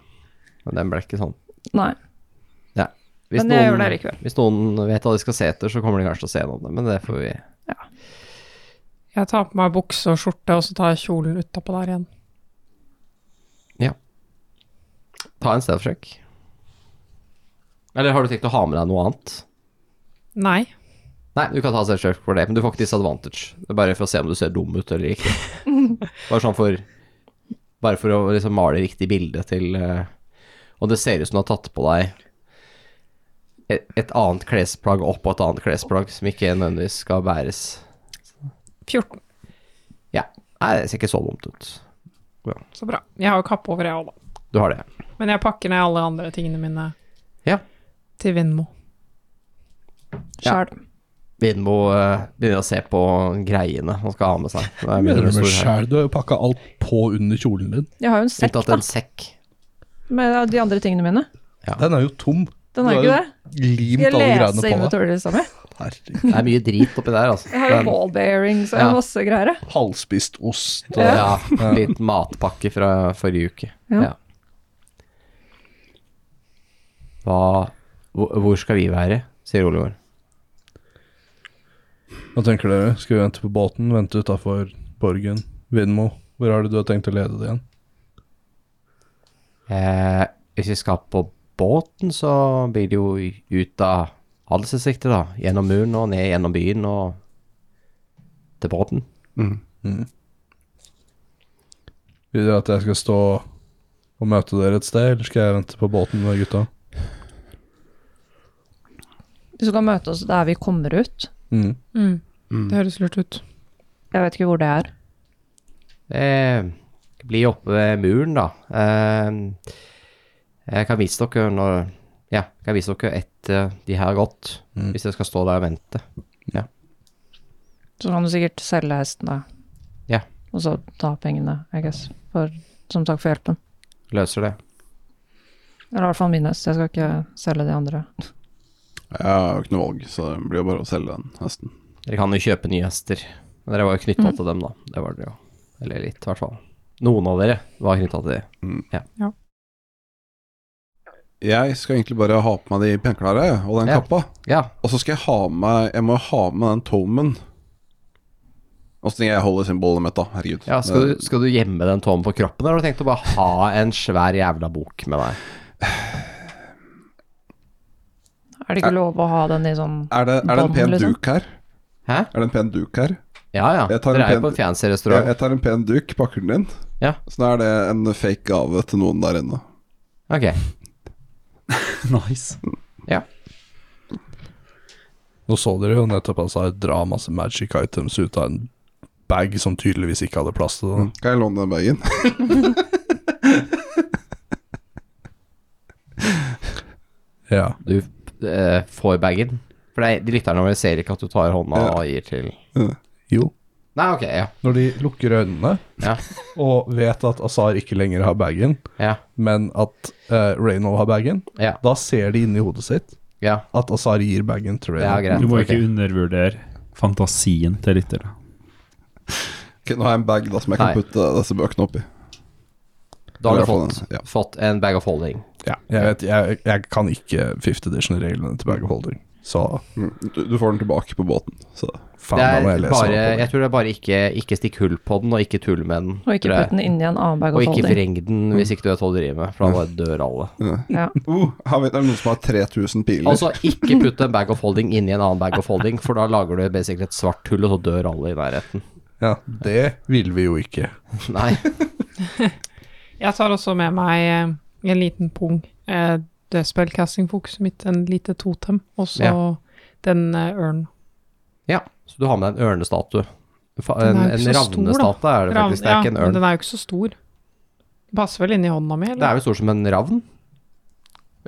B: Men den ble ikke sånn.
H: nei.
B: Ja. Hvis
H: Men jeg gjør det likevel.
B: Hvis noen vet hva de skal se etter, så kommer de kanskje til å se noe om det, men det får vi
C: Jeg tar på meg bukse og skjorte, og så tar jeg kjolen utapå der igjen.
B: ta en straffesjekk. Eller har du tenkt å ha med deg noe annet?
C: Nei.
B: Nei, du kan ta straffesjekk for det, men du får ikke disadvantage. Det er bare for å se om du ser dum ut eller ikke. Bare sånn for Bare for å liksom male riktig bilde til eh, Og det ser ut som du har tatt på deg et, et annet klesplagg oppå et annet klesplagg som ikke nødvendigvis skal bæres.
C: 14.
B: Ja. Nei, det ser ikke så dumt ut.
C: Så bra. Jeg har jo kappe over, jeg òg, da.
B: Du har det.
C: Men jeg pakker ned alle andre tingene mine
B: Ja.
C: til Vindmo.
B: Ja.
H: Sjæl.
B: Vindmo eh, begynner å se på greiene han skal ha med seg. Det er
F: Mener
B: mindre
F: du med
B: stor her.
F: sjæl? Du har jo pakka alt på under kjolen din.
H: Jeg har jo en sekk,
B: Unntatt
H: da,
B: en sekk.
H: med de andre tingene mine.
F: Den er jo tom.
H: Den er
F: Du
H: ikke
F: har
H: det.
F: jo Limt
H: Jeg
F: alle
H: leser
F: greiene på deg.
H: inventorylista mi.
F: Herregud.
B: Det er mye drit oppi der, altså.
H: Jeg har jo
B: Men-
H: ball bearings og
B: Ja.
H: masse greier. jeg.
F: Halvspist ost. og-
B: Ja, litt matpakke fra forrige uke.
H: Ja.
B: Hva hvor- Hvor skal vi være? sier Olegård.
F: Hva tenker dere? Skal vi vente på båten? Vente utafor Borgen? Vindmo? Hvor er det du har tenkt å lede det igjen?
B: Eh, hvis vi skal på båten, så blir det jo ut av Halsdistriktet, da. Gjennom muren og ned gjennom byen og til båten.
F: Mm. Vil dere at jeg skal stå og møte dere et sted, eller skal jeg vente på båten med gutta?
H: Du skal møte oss der vi kommer ut.
F: Mm.
C: Mm. Det høres lurt ut.
H: Jeg vet ikke hvor det er.
B: Eh, bli oppe ved muren, da. Eh, jeg kan vise dere når Ja, jeg kan vise dere etter de her har gått,
F: Mm.
B: hvis dere skal stå der og vente.
H: Så kan du sikkert selge hesten, da.
B: Ja.
H: Og så ta pengene, I guess, for, som takk for hjelpen.
B: Løser det.
H: Eller i hvert fall min hest. Jeg skal ikke selge de andre.
G: Jeg har jo ikke noe valg, så det blir jo bare å selge den hesten.
B: Dere kan jo kjøpe nye hester. Men dere var jo knytta til dem, da. Det var dere jo. Eller litt, i hvert fall. Noen av dere var knytta til de.
G: Jeg skal egentlig bare ha på meg de penklærne jeg, og den
B: Ja.
G: kappa.
B: Ja.
G: Og så skal jeg ha med meg Jeg må jo ha med den tomen. Og så tenker jeg jeg holder symbolet mitt, da. Herregud.
B: ja skal,
G: Det-
B: du, skal du gjemme den tommen på kroppen, eller har du tenkt å bare ha en svær jævla bok med deg?
H: Er det ikke lov å ha den i sånn
G: er, det, er det en
H: Bånd,
G: pen
H: liksom?
G: duk her?
B: Hæ?
G: Er det en pen duk her?
B: Ja ja.
G: Jeg tar en
B: Dere er jo
G: pen-
B: på en fancy
G: Jeg,
B: restaurant.
G: jeg tar en pen duk, pakker den inn.
B: Ja.
G: Så da er det en fake gave til noen der inne.
B: Ok.
D: Nice.
F: Nå så dere jo nettopp altså jeg dra masse magic items ut av en bag som tydeligvis ikke hadde plass til det.
B: Mm.
F: da.
G: Kan jeg låne den bagen?
F: Ja.
B: Du eh, får bagen. For det, er- de lytterne våre ser ikke at du tar hånda og gir til
F: Jo.
B: Nei, ok, ja.
F: Når de lukker øynene
B: Ja.
F: og vet at Azar ikke lenger har bagen,
B: Ja.
F: men at uh, Reynold har bagen,
B: Ja.
F: da ser de inni hodet sitt
B: ja.
F: at Azar gir bagen til
B: Ja,
F: Reynold.
B: greit.
D: Du må ikke
B: ok.
D: undervurdere fantasien til lyttere.
G: Ok, nå har jeg en bag da som jeg kan
B: Nei.
G: putte disse bøkene oppi.
B: Da har
G: i
B: du
G: hvert fall
B: fått,
G: den, ja.
B: fått en bag of holding.
F: Ja, jeg vet, jeg, jeg kan ikke fifth edition-reglene til bag of holding, så
G: Mm, Du, du får den tilbake på båten. Så.
F: faen,
B: Det
F: da må jeg
B: er
F: lese
B: bare,
F: meg
B: jeg
F: opp på det.
B: tror det er bare ikke, ikke stikk hull på den, og ikke tull med den.
H: Og ikke
B: tror jeg.
H: putt den inni en annen bag
B: og
H: of
B: ikke
H: holding.
B: vreng den hvis ikke du vet hva du driver med, for da
F: Mm.
B: bare dør alle.
H: Ja.
G: Uh, her vet jeg noen som har 3000 piler.
B: Altså, ikke putt en bag of holding inni en annen bag of holding, for da lager du basically et svart hull, og så dør alle i nærheten.
F: Ja, det vil vi jo ikke.
B: Nei.
C: Jeg tar også med meg eh, en liten pung eh, dødsspillcastingfokuset mitt, en lite totem, og så den eh, ørnen.
B: Ja, så du har med deg en ørnestatue. Fa-
C: Den
B: En,
C: er jo ikke
B: en
C: så stor, da.
B: ravnestatue er det faktisk, det er ikke en
C: men
B: ørn.
C: den er jo ikke så stor. Passer vel inni hånda mi,
B: Det
C: eller?
B: er jo stor som en ravn,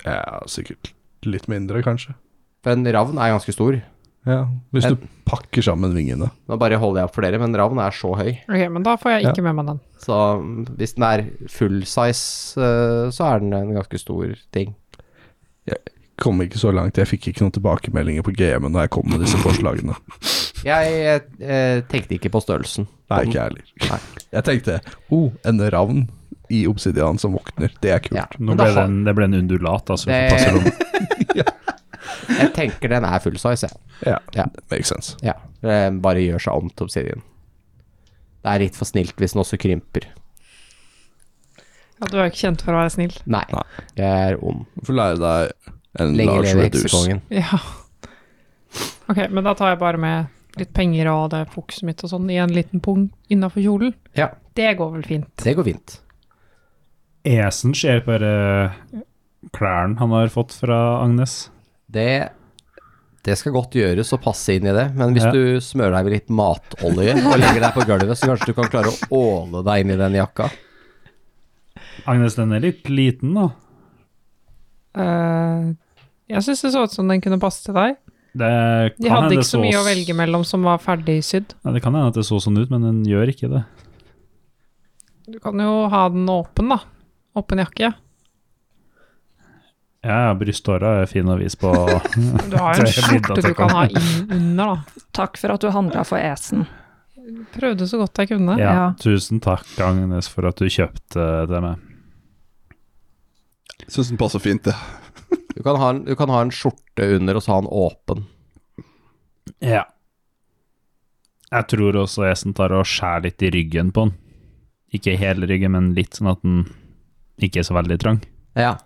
F: Ja, sikkert litt mindre, kanskje.
B: for en ravn er ganske stor.
F: Ja, Hvis
B: En-
F: du pakker sammen vingene.
B: Nå bare holder jeg opp for dere, men ravn er så høy.
C: Ok, men da får jeg ikke med meg den.
B: Så hvis den er full size, eh, så er den en ganske stor ting.
F: Kom ikke så langt. Jeg fikk ikke noen tilbakemeldinger på GM-en da jeg kom med disse forslagene.
B: Jeg eh, tenkte ikke på størrelsen.
F: Nei, ikke jeg heller. Jeg tenkte oh, en ravn i obsidian som våkner. Det er kult.
B: Ja,
D: Nå
B: men
D: ble
B: det
D: det
B: har,
D: en, det ble en undulat, altså.
B: Det-
D: Det... Passer om.
B: jeg tenker den er full size, jeg.
F: Ja,
B: Ja.
F: Makes sense.
B: Ja. Eh, Bare gjør seg om til obsidian. Det er litt for snilt hvis den også krymper.
C: Ja, du er jo ikke kjent for å være snill.
B: Nei, jeg er ond.
F: Du får lære deg en
B: Lenge
F: large
B: leve
F: reduce.
B: heksekongen.
C: Ja. Ok, men da tar jeg bare med litt penger og det fokuset mitt og sånn i en liten pung innafor kjolen.
B: Ja,
C: Det går vel fint.
B: det går fint.
D: Esen ser på eh, klærne han har fått fra Agnes.
B: Det, det skal godt gjøres å passe inn i det, men hvis
D: Ja.
B: du smører deg med litt matolje og legger deg på gulvet, så kanskje du kan klare å åle deg inn i den jakka.
D: Agnes, den er litt liten, da.
C: Eh, jeg syns det så ut som den kunne passe til deg.
D: Det
C: De hadde
D: kan hende
C: ikke så mye å velge mellom som var ferdigsydd.
D: Nei, det kan hende at det så sånn ut, men den gjør ikke det.
C: Du kan jo ha den åpen, da. Åpen jakke.
D: Ja, ja, brysthåra er fin å vise på.
C: Du har jo en
D: Det er litt
C: skjorte du kan ha inn under, da.
H: Takk for at du handla for esen.
C: Prøvde så godt jeg kunne.
D: ja,
H: Ja.
D: tusen takk, Agnes, for at du kjøpte det med.
G: Syns den passer fint, det.
B: Du kan ha en, du kan ha en skjorte under og så ha den åpen.
D: Ja. Jeg tror også Esen tar og skjærer litt i ryggen på den. Ikke hele ryggen, men litt sånn at den ikke er så veldig trang.
B: Ja,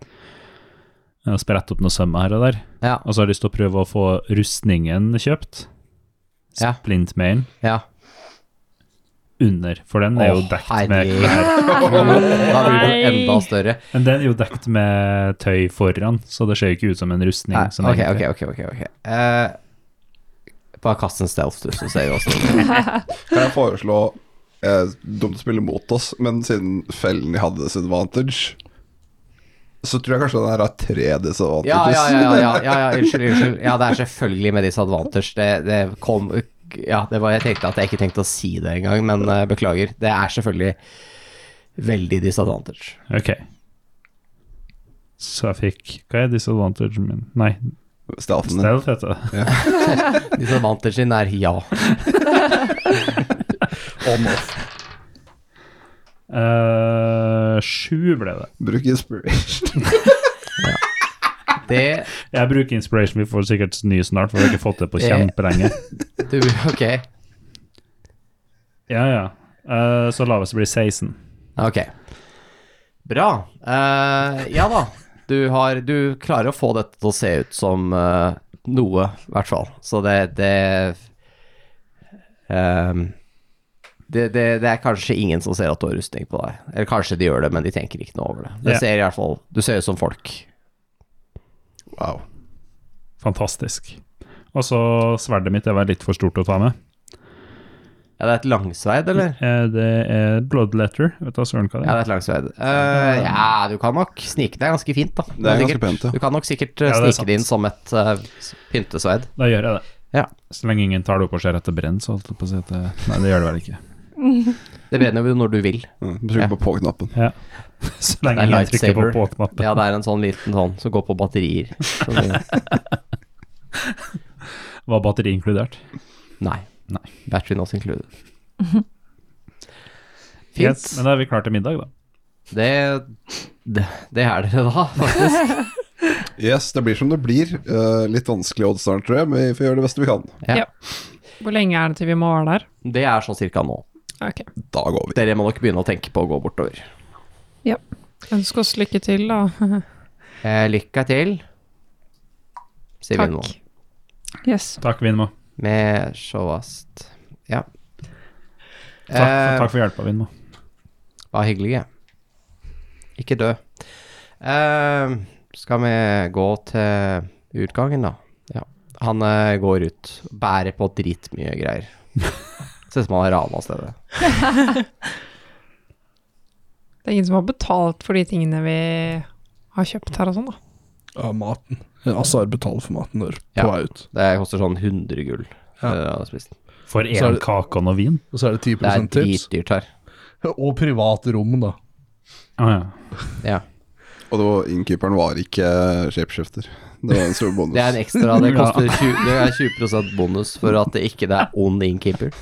D: Og Sprette opp noe sømme her og der.
B: ja,
D: Og så har jeg lyst til å prøve å få rustningen kjøpt.
B: Ja.
D: Splintmailen
B: ja.
D: under, for den er jo
B: Åh,
D: dekt med
B: herregud. Da blir den enda større.
D: Men den er jo dekt med tøy foran, så det ser jo ikke ut som en rustning.
B: Nei,
D: som
B: ok, ok,
D: egentlig-
B: ok. ok, ok. Eh, bare kast en stealth, du, så ser vi åssen det går.
G: Kan jeg foreslå eh, Dumt å spille mot oss, men siden fellen hadde disadvantage, så tror jeg kanskje den her har tre disadvantages.
B: Ja, ja, ja, ja, ja, ja, ja, unnskyld, unnskyld. Ja, det er selvfølgelig med disadvantage. Det, det kom Ja, det var jeg tenkte at jeg ikke tenkte å si det engang, men eh, beklager. Det er selvfølgelig veldig disadvantage.
D: Ok. Så jeg fikk Hva er disadvantagen min? Nei,
G: Stealthen din.
D: stealth heter det.
B: Disadvantagen er ja.
D: Eh, sju ble det.
G: Bruk inspiration.
B: Det
D: Jeg bruker inspiration, vi får sikkert ny snart, for vi har ikke fått det
B: Eh.
D: på kjempelenge.
B: du, Ok.
D: Ja, ja. Eh, så lavest blir 16.
B: Ok. Bra. Eh, ja da. Du, har, du klarer å få dette til å se ut som eh, noe, i hvert fall. Så det det, ehm, det det Det er kanskje ingen som ser at du har rustning på deg. Eller kanskje de gjør det, men de tenker ikke noe over det. Det
D: Ja.
B: ser i hvert fall Du ser ut som folk.
G: Wow.
D: Fantastisk. Og så sverdet mitt, det var litt for stort å ta med.
B: Ja, det er et langsveid, eller?
D: Eh, Det er bloodletter. Vet du hva søren hva det
B: Ja,
D: er?
B: det er et langsveid. Eh, ja, du kan nok snike deg ganske fint, da.
G: Det er ganske
B: sikkert-
G: pent, ja.
B: Du kan nok sikkert eh,
D: Ja, det er
B: snike det inn som et eh, pyntesveid.
D: Da gjør jeg det.
B: Ja.
D: Så lenge ingen tar det opp og ser at det brenner, så holdt jeg på å si at det Nei, det gjør det vel ikke.
B: Det brenner jo når du vil.
G: Mm, Bruk
B: Ja.
G: på på-knappen.
D: Så
B: Det er
D: lenge ingen trykker på
B: lightsaber.
D: på-knappen.
B: Ja, det er en sånn liten sånn som går på batterier. Så det-
D: Var batteri inkludert?
B: Nei.
D: Nei.
B: Battery not included. Fint.
D: Yes, men da er vi klare til middag, da.
B: Det, det, det er dere da, faktisk.
I: Yes, det blir som det blir. Eh, litt vanskelig odds der, tror jeg, men vi får gjøre det beste vi kan.
C: Hvor lenge er det til vi må være der?
B: Det er sånn cirka nå.
C: Ok.
I: Da går vi.
B: Dere må nok begynne å tenke på å gå bortover.
C: Ønsk oss lykke til, da.
B: Eh, lykke til, sier vi nå.
C: Takk. Yes.
D: Takk, Vinmo.
B: Med sjåast. Ja. Eh,
D: Takk, for- takk for hjelpa, Vinmo.
B: Var hyggelige. Ikke dø. Eh, skal vi gå til utgangen, da? Ja. Han eh, går ut. Bærer på dritmye greier. Ser ut som han har rana stedet.
C: Det er ingen som har betalt for de tingene vi har kjøpt her og sånn, da.
F: Ja, maten. Azar betaler for maten der, på
B: Ja.
F: vei ut.
B: Det koster sånn 100 gull.
F: Ja.
B: eh, han har spist.
D: For
F: Så er
D: én
F: det-
D: kake og noe vin?
F: Og så er det 10
B: Det er
F: tips.
B: dritdyrt her.
F: Og privat rom, da.
D: Å Ah, ja.
B: Ja.
I: Og det var, innkeeperen var ikke shapeshifter. Det var en stor bonus.
B: Det er en ekstra. Det
D: Ja.
B: koster 20, det er 20 bonus for at det ikke er ond innkeeper.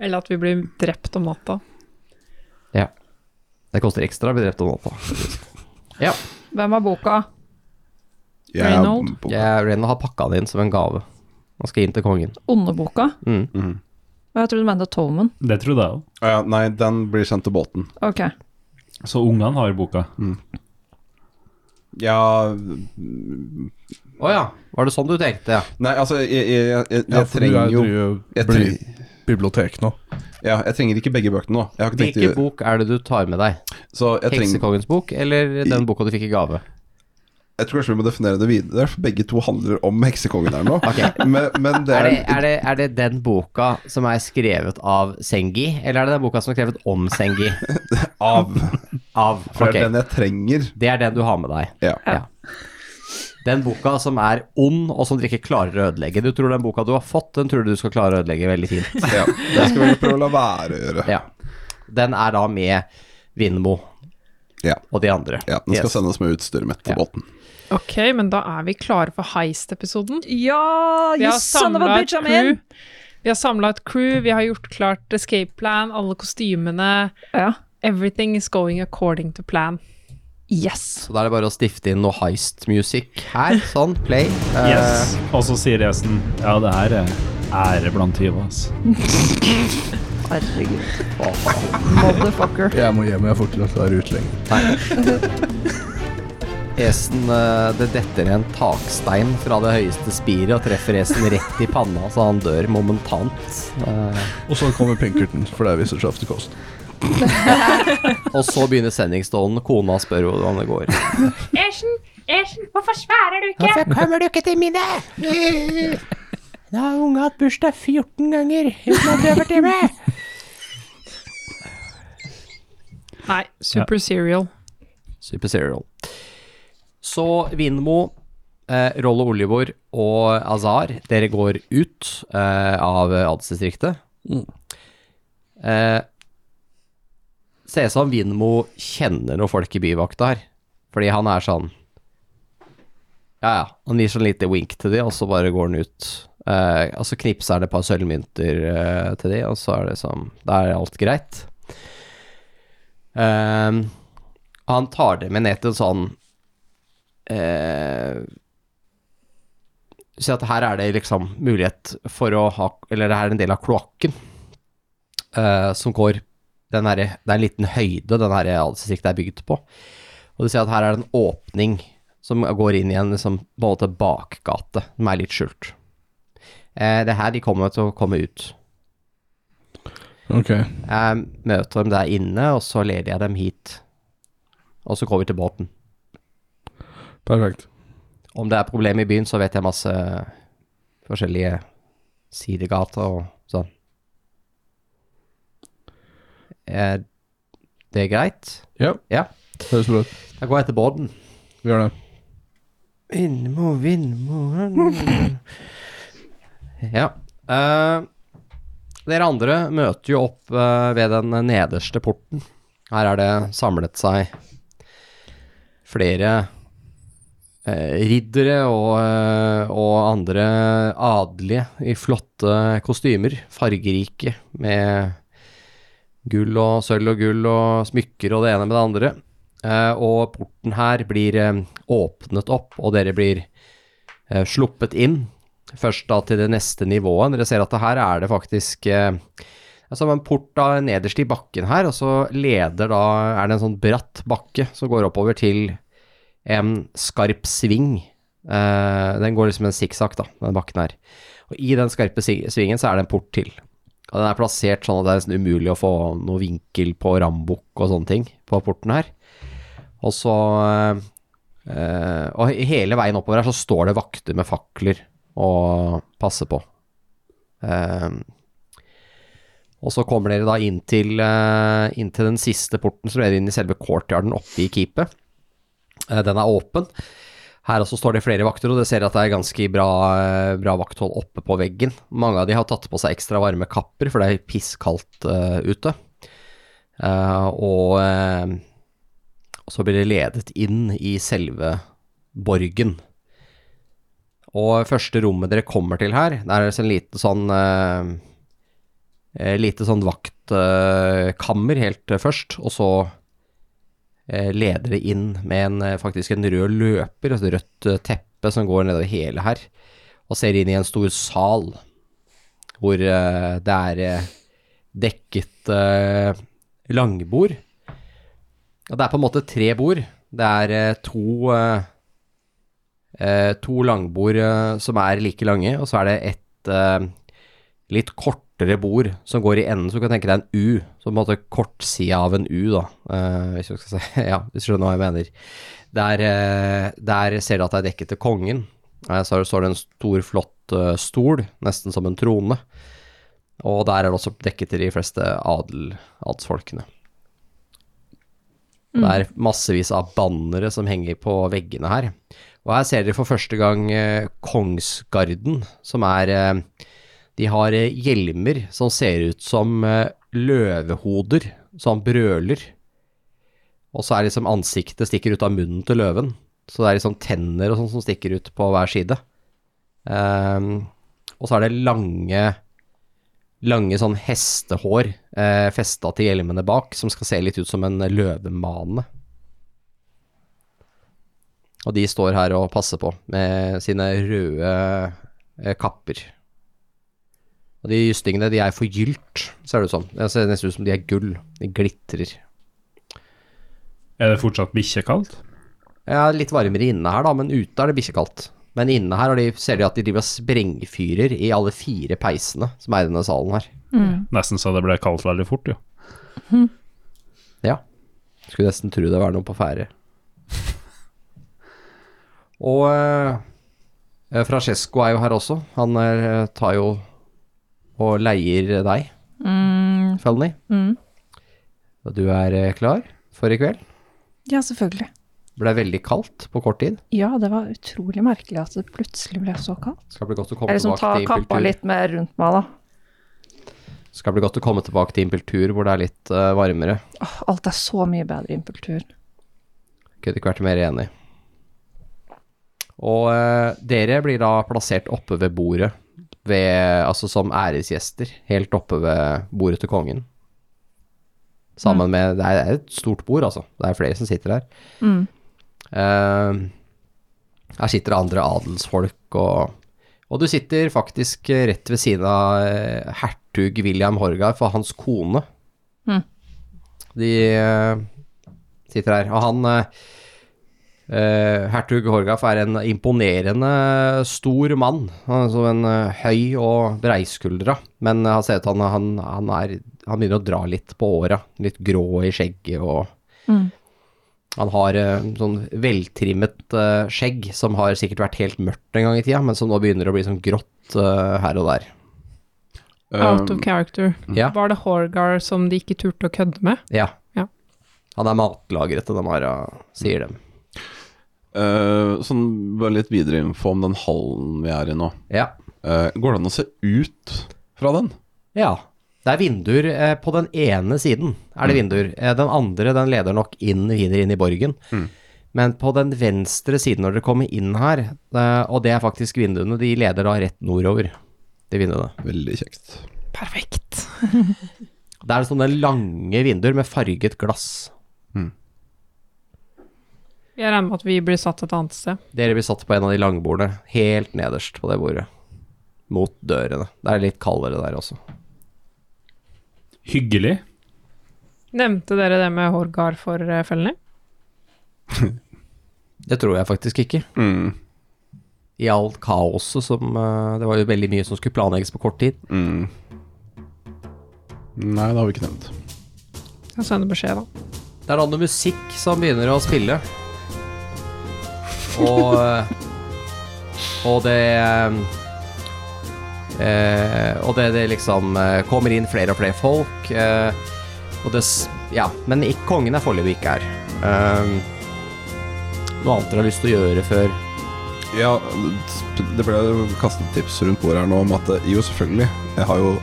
C: Eller at vi blir drept om natta.
B: Det koster ekstra å bli drept av noen. da.
H: Hvem har boka?
I: Jeg er
C: Reynold?
I: på-
B: Jeg Ren har pakka det inn som en gave. Han skal inn til kongen.
H: Ondeboka?
B: Mm.
I: Mhm.
H: Og jeg trodde du mente Tolman.
D: Det trodde jeg òg.
I: Å ja, nei, den blir sendt til båten.
H: Ok.
D: Så ungene har boka.
B: Eh.
I: Ja
B: Å ja, var det sånn du tenkte? Ja.
I: Nei, altså, jeg, jeg, jeg, jeg,
F: Ja, for du
I: trenger
F: er
I: jo
F: jo
I: jeg,
F: blir
I: tre-
F: bibliotek nå.
I: ja, jeg trenger ikke begge bøkene nå. Jeg har ikke tenkt til
B: Hvilken bok er det du tar med deg?
I: Så jeg trenger
B: Heksekongens bok, eller den boka du fikk i gave?
I: Jeg tror kanskje vi må definere det videre, for begge to handler om heksekongen her nå. men, men det
B: Er
I: er,
B: det, er, det, er det den boka som er skrevet av Sengi, eller er det den boka som er skrevet om Sengi?
I: av.
B: Av.
I: For
B: Ok,
I: det er den jeg trenger.
B: det er den du har med deg.
I: Ja.
B: Ja. Den boka som er ond, og som dere ikke klarer å ødelegge. Du tror den boka du har fått, den tror du du skal klare å ødelegge veldig fint.
I: ja. Det skal vi prøve å la være å gjøre.
B: Ja. Den er da med Vindmo
I: Ja.
B: og de andre.
I: Ja, den skal
B: Yes.
I: sendes med utstyret mitt til
B: Ja.
I: båten.
C: Ok, men da er vi klare for heist-episoden.
H: Ja,
C: Vi
H: you
C: har
H: son of a
C: samla et
H: bitch, I'm in!
C: crew. Vi har samla et crew, vi har gjort klart escape plan, alle kostymene.
H: Ja.
C: Everything is going according to plan.
H: Yes.
B: Så da er det bare å stifte inn noe heist-musikk her. Sånn, play. Eh,
D: Yes. Og så sier Esen Ja, det her er ære blant tyver, ass.
H: Herregud. Motherfucker.
F: Jeg må hjem, jeg får ikke lov til å være ute lenger.
B: Esen, eh, det detter en takstein fra det høyeste spiret og treffer Esen rett i panna, så han dør momentant. Eh,
F: Og så kommer Pinkerton, for det viser seg ofte kost.
B: og så begynner sendingstålen. Kona spør hvordan det går.
E: Æsjen, æsjen, hvorfor svarer du ikke?
B: Hvorfor kommer du ikke til middag? Nå har unge hatt bursdag 14 ganger uten at du har vært hjemme.
C: Nei, super serial.
B: Super Serial. Så Vinmo, eh, Rollo Olivor og Azar, dere går ut eh, av adelsdistriktet. Eh, ser ut som Vinmo kjenner noen folk i byvakta her. Fordi han er sånn Ja, ja. Han gir sånn lite wink til de, og så bare går han ut. Eh, og så knipser han et par sølvmynter eh, til de, og så er det sånn Da er alt greit. Eh, og han tar det med ned til en sånn eh, Si at her er det liksom mulighet for å ha Eller det her er en del av kloakken eh, som går den her, Det er en liten høyde den her adelsdistriktet er bygd på. Og du ser at her er det en åpning som går inn i en liksom, på en måte bakgate, som er litt skjult. Eh, det er her de kommer til å komme ut.
F: Ok.
B: Jeg møter dem der inne, og så leder jeg dem hit. Og så går vi til båten.
F: Perfekt.
B: Om det er problemer i byen, så vet jeg masse forskjellige sidegater og sånn. Er det greit?
F: Ja.
B: Ja.
F: Høres bra ut.
B: Da går jeg til båten.
F: Vi gjør det.
B: Vindmo, vindmo Ja. eh, dere andre møter jo opp eh, ved den nederste porten. Her er det samlet seg flere eh, riddere og, eh, og andre adelige i flotte kostymer. Fargerike med Gull og sølv og gull og smykker og det ene med det andre. Eh, og porten her blir eh, åpnet opp, og dere blir eh, sluppet inn. Først da til det neste nivået. Dere ser at det her er det faktisk eh, det er som en port da nederst i bakken her, og så leder da er det en sånn bratt bakke som går oppover til en skarp sving. Eh, den går liksom en sikksakk, da, den bakken her. Og i den skarpe si- svingen så er det en port til. Og den er plassert sånn at det er nesten umulig å få noe vinkel på rambukk og sånne ting på porten her. Og så eh, eh, Og he- hele veien oppover her så står det vakter med fakler og passer på. Eh, og så kommer dere da inn til, eh, inn til den siste porten, så dere inn i selve courtyarden oppe i keepet. Eh, Den er åpen. Her også står det flere vakter, og dere ser at det er ganske bra, eh, bra vakthold oppe på veggen. Mange av de har tatt på seg ekstra varme kapper, for det er pisskaldt eh, ute. Eh, og eh, og så blir det ledet inn i selve borgen. Og første rommet dere kommer til her, det er altså en liten sånn eh, eh, lite sånn vaktkammer helt eh, først, og så eh, leder det inn med en, eh, faktisk en rød løper, altså rødt eh, teppe som går nedover hele her, og ser inn i en stor sal, hvor eh, det er eh, dekket eh, langbord. Og det er på en måte tre bord. Det er eh, to eh, eh, To langbord eh, som er like lange, og så er det et eh, litt kortere bord som går i enden, så du kan tenke deg en U. Så på en måte kortsida av en U, da. eh, hvis du skal si Ja, hvis du skjønner hva jeg mener. Der, eh, der ser du at det er dekket til kongen. Eh, så står det en stor, flott eh, stol, nesten som en trone. Og der er det også dekket til de fleste adel, adelsfolkene. Og Det er massevis av bannere som henger på veggene her. Og her ser dere for første gang eh, Kongsgarden, som er eh, De har eh, hjelmer som ser ut som eh, løvehoder, som brøler. Og så er liksom ansiktet stikker ut av munnen til løven. Så det er liksom tenner og sånn som stikker ut på hver side. Ehm, og så er det lange lange sånn hestehår eh, festa til hjelmene bak, som skal se litt ut som en løvemane. Og de står her og passer på med sine røde eh, kapper. Og de justingene, de er forgylt, ser det ut som. Det ser nesten ut som de er gull. De glitrer.
D: Er det fortsatt bikkjekaldt?
B: Ja, litt varmere inne her da, men ute er det bikkjekaldt. Men inne her har de, ser de at de driver og sprengfyrer i alle fire peisene som er i denne salen her.
D: Nesten så det ble kaldt veldig fort, jo.
B: Ja. Skulle nesten tro det var noe på ferde. Og eh, Francesco er jo her også. Han eh, tar jo og leier deg, mm. Felny.
H: Mm.
B: Og du er eh, klar for i kveld?
H: Ja, selvfølgelig.
B: Ble veldig kaldt på kort tid.
H: Ja, det var utrolig merkelig at det plutselig ble så kaldt.
B: Skal bli godt å komme
H: Jeg liksom ta
B: tilbake til
H: kappa
B: impultur.
H: litt mer rundt meg, da.
B: Skal bli godt å komme tilbake til impultur hvor det er litt eh, varmere.
H: Åh, alt er så mye bedre i impultur.
B: Kunne ikke vært mer enig. Og eh, dere blir da plassert oppe ved bordet, ved, altså som æresgjester, helt oppe ved bordet til kongen. Sammen med Det er et stort bord, altså. Det er flere som sitter der. Eh, her sitter det andre adelsfolk og Og du sitter faktisk eh, rett ved siden av eh, hertug William Horgar, for hans kone. De eh, sitter her. Og han eh, eh, Hertug Horgaf er en imponerende stor mann. Han er som en eh, høy og breiskuldra. Men han ser ut han, han, han, er, han begynner å dra litt på åra. Litt grå i skjegget og Han har eh, sånn veltrimmet eh, skjegg som har sikkert vært helt mørkt en gang i tida, men som nå begynner å bli sånn grått eh, her og der.
G: Ehm,
C: Out of character.
B: Ja.
C: Var det Horgar som de ikke turte å kødde med?
B: Ja.
C: Ja.
B: Han er matlagret til dem her, ja, sier dem.
G: Eh, sånn bare litt videre info om den hallen vi er i nå.
B: Ja.
G: Eh, går det an å se ut fra den?
B: Ja. Det er vinduer eh, på den ene siden. er det vinduer. Eh, den andre den leder nok inn videre inn i borgen. Men på den venstre siden når dere kommer inn her, eh, og det er faktisk vinduene, de leder da rett nordover. De vinduene.
G: Veldig kjekt.
C: Perfekt.
B: Det er sånne lange vinduer med farget glass.
C: Jeg regner med at vi blir satt et annet sted.
B: Dere blir satt på en av de langbordene, helt nederst på det bordet. Mot dørene. Det er litt kaldere der også.
D: Hyggelig.
C: Nevnte dere det med Horgar for eh, fellene?
B: Det tror jeg faktisk ikke.
G: Mm.
B: I alt kaoset som eh, Det var jo veldig mye som skulle planlegges på kort tid.
G: Mm. Nei, det har vi ikke nevnt.
C: Jeg sender beskjed, da.
B: Det er da noe musikk som begynner å spille. Og eh, Og det eh, eh, Og det, det liksom eh, kommer inn flere og flere folk. eh, og det s- Ja, men ikke, kongen er foreløpig ikke her. Eh, noe annet dere har lyst til å gjøre før
G: Ja,
I: Det ble kastet tips rundt bordet her nå om at eh, jo, selvfølgelig, jeg har jo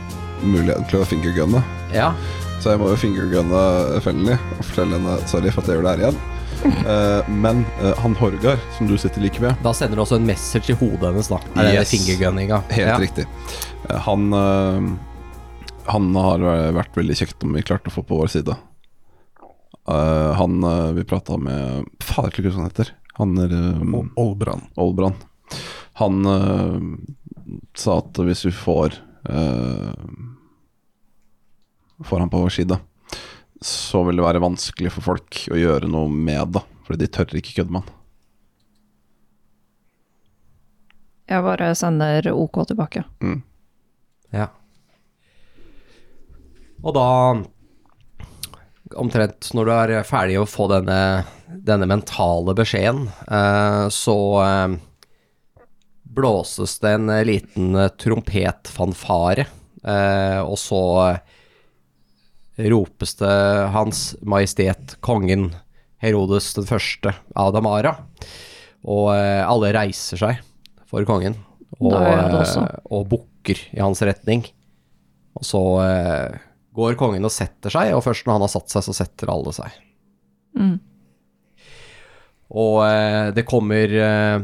I: muligheten til å fingergunne,
B: Ja,
I: så jeg må jo fingergunne Fennelly og fortelle henne sorry for at jeg gjør det her igjen. Eh, men eh, han Horgar, som du sitter like ved,
B: da sender du også en message i hodet hennes, da. Er det
I: Yes.
B: fingergunninga?
I: Helt
B: ja.
I: riktig. Eh, Han eh, Han har vært veldig kjekt om vi klarte å få på vår side. Eh, han eh, vi prata med Fader, ikke hva han heter. Han er
F: Mm.
I: eh,
F: Olbran.
I: Olbran. Han eh, sa at hvis vi får eh, Får han på vår side, så vil det være vanskelig for folk å gjøre noe med det. Fordi de tør ikke kødde med han.
H: Jeg bare sender OK tilbake.
B: Ja. Og da Omtrent når du er ferdig å få denne, denne mentale beskjeden, eh, så eh, blåses det en eh, liten eh, trompetfanfare, eh, og så eh, ropes det Hans Majestet Kongen Herodes den første av Damara, og eh, alle reiser seg for kongen og,
H: Da gjør jeg det også.
B: eh, og bukker i hans retning. Og så eh, går kongen og setter seg, og først når han har satt seg, så setter alle seg.
H: Mm.
B: Og eh, det kommer eh,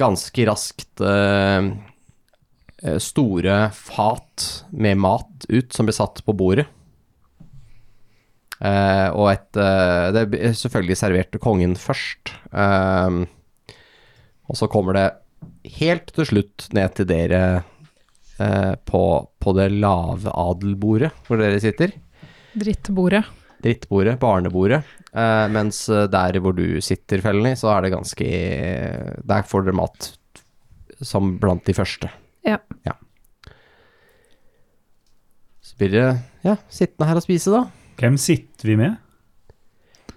B: ganske raskt eh, eh, store fat med mat ut som blir satt på bordet. Eh, og et eh, Det blir selvfølgelig servert til kongen først. Eh, og så kommer det helt til slutt ned til dere eh, på, på det lave adelbordet hvor dere sitter.
C: Drittbordet.
B: Drittbordet, barnebordet. Eh, mens eh, der hvor du sitter, Felleny, så er det ganske Der får dere mat som blant de første.
H: Ja.
B: Så blir dere ja, sittende her og spise, da.
D: Hvem sitter vi med?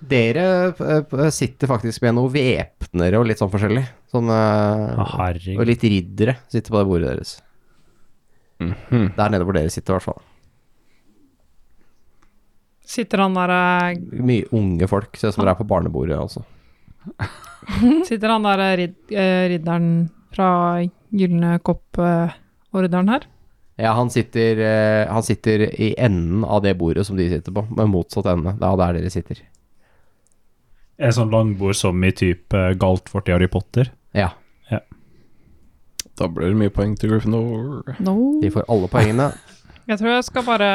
B: Dere eh, sitter faktisk med noe væpnere og litt sånn forskjellig. Sånn
D: Å,
B: eh, Og
D: herregud.
B: litt riddere sitter på det bordet deres. Der nede hvor dere sitter, i hvert fall.
C: Sitter han der eh,
B: Mye unge folk, ser ut som dere er på barnebordet altså. også.
C: Sitter han der eh, rid, eh, ridderen fra Gylne kopp-orderen her?
B: Ja, han sitter, eh, han sitter i enden av det bordet som de sitter på, men motsatt ende. Det er der dere sitter.
D: En sånn langbord som i type Galtvort i Harry Potter.
B: Ja,
G: Da blir det mye poeng til Gryffindor.
H: No.
B: de får alle poengene.
C: Jeg tror jeg skal bare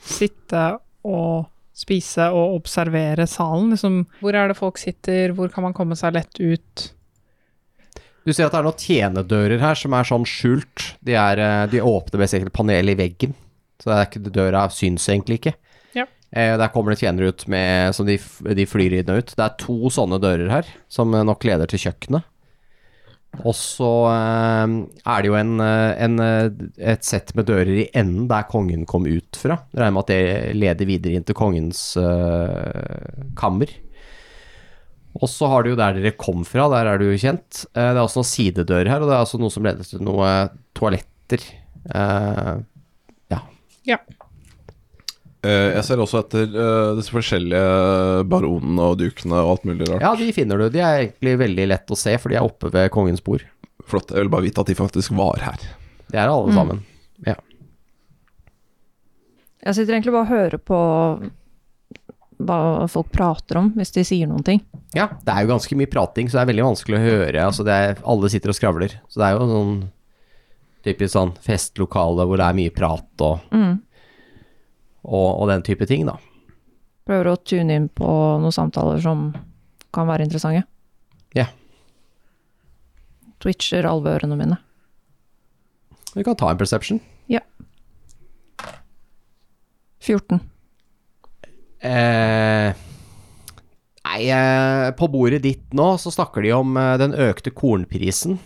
C: sitte og spise og observere salen. Liksom, hvor er det folk sitter, hvor kan man komme seg lett ut?
B: Du ser at det er noen tjenedører her som er sånn skjult. De, er, eh, de åpner mest egentlig panel i veggen, så det er ikke, døra syns egentlig ikke.
C: Ja.
B: Eh, der kommer det tjenere ut med, som de, f- de flyr inn og ut. Det er to sånne dører her, som eh, nok leder til kjøkkenet. Og så eh, er det jo en, eh, en, eh, et sett med dører i enden der kongen kom ut fra. Jeg Regner med at det leder videre inn til kongens eh, kammer. Og så har du jo der dere kom fra, der er du jo kjent. Eh, Det er også noen sidedører her, og det er også noe som leder til noen toaletter. Eh,
G: Eh, jeg ser også etter eh, disse forskjellige baronene og dukene og alt mulig rart.
B: Ja, de finner du. De er egentlig veldig lett å se, for de er oppe ved kongens bord.
G: Flott. Jeg vil bare vite at de faktisk var her.
B: Det er alle sammen.
H: Jeg sitter egentlig bare og hører på hva folk prater om, hvis de sier noen ting.
B: Ja, det er jo ganske mye prating, så det er veldig vanskelig å høre. Altså, det er, alle sitter og skravler. Så det er jo sånn typisk sånn festlokale hvor det er mye prat og og, og den type ting, da.
H: Prøver å tune inn på noen samtaler som kan være interessante.
B: Ja.
H: Twitcher alveørene mine.
B: Vi kan ta en perception.
H: 14.
B: Eh, nei, eh, på bordet ditt nå så snakker de om eh, den økte kornprisen.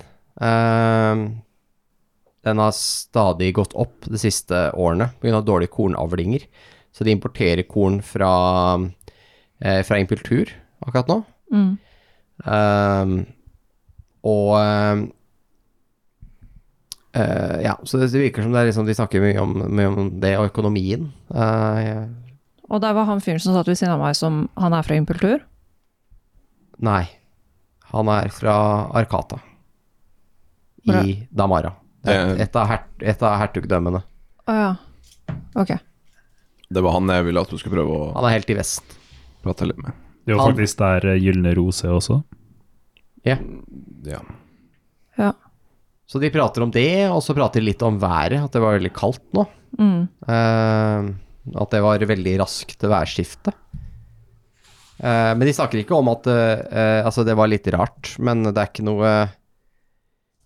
B: Eh, den har stadig gått opp de siste årene pga. dårlige kornavlinger. Så de importerer korn fra, eh, fra impultur akkurat nå.
H: Mm.
B: Ehm, og ehm, eh, Ja, så det virker som det er liksom, de snakker mye om, mye om det og økonomien. Eh,
H: Og der var han fyren som satt ved siden av meg, som han er fra Impultur.
B: nei. Han er fra Arkata.
H: Bra.
B: I Damara. Det er Et, et, av her, et av hertugdømmene.
H: Å ja. Ok. Eh,
G: Det var han jeg ville at du skulle prøve å
B: Han er helt i vest.
G: prate litt med.
D: Det er jo
B: Han-
D: faktisk der eh, Gylne rose også.
B: Ja.
G: Ja.
H: Ja.
B: Så de prater om det, og så prater de litt om været, at det var veldig kaldt nå.
H: Mm.
B: Eh, at det var veldig raskt værskifte. Eh, men de snakker ikke om at eh, eh, Altså, det var litt rart, men det er ikke noe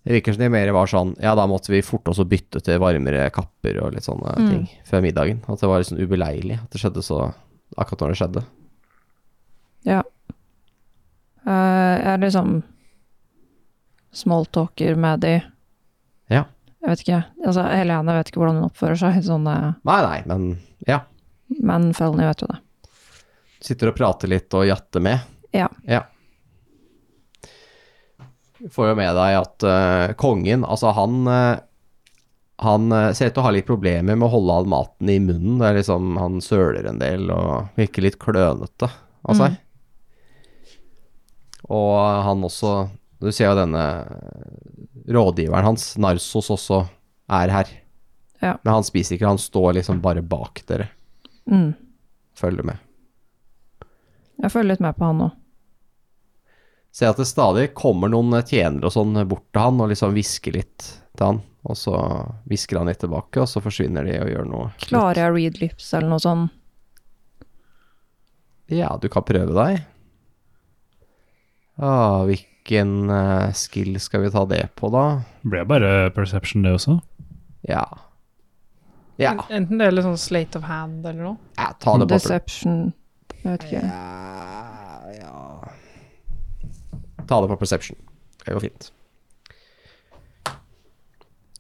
B: Det virker som de mer var sånn Ja, da måtte vi forte oss å bytte til varmere kapper og litt sånne
H: Mm.
B: ting før middagen. At det var litt sånn ubeleilig at det skjedde så akkurat når det skjedde.
H: Eh, jeg er liksom smalltalker med de.
B: Ja.
H: Jeg vet ikke. Altså, Helene vet ikke hvordan hun oppfører seg, sånn, eh,
B: Nei, nei, men ja.
H: men Felny vet jo det.
B: Sitter og prater litt og jatter med.
H: Ja.
B: Du får jo med deg at eh, kongen, altså han eh, Han eh, ser ut til å ha litt problemer med å holde all maten i munnen. Det er liksom, Han søler en del og virker litt klønete av seg.
H: Mm.
B: Og han også Du ser jo denne rådgiveren hans, Narsos, også er her.
H: Ja.
B: Men han spiser ikke, han står liksom bare bak dere.
H: Mm.
B: Følger med.
H: Jeg følger litt med på han nå.
B: ser at det stadig kommer noen tjenere og sånn bort til han og liksom hvisker litt til han. Og så hvisker han litt tilbake, og så forsvinner de og gjør noe.
H: Klarer jeg å read lips eller noe sånn?
B: Ja, du kan prøve deg. Ah, hvilken eh, skill skal vi ta det på, da?
D: Det ble bare perception, det også.
B: Ja. Ja,
C: En- Enten det eller sånn slate of hand eller noe.
B: ja ta det på
H: Deception Jeg vet ikke.
B: Ja, ja. Ta det på perception. Det går fint.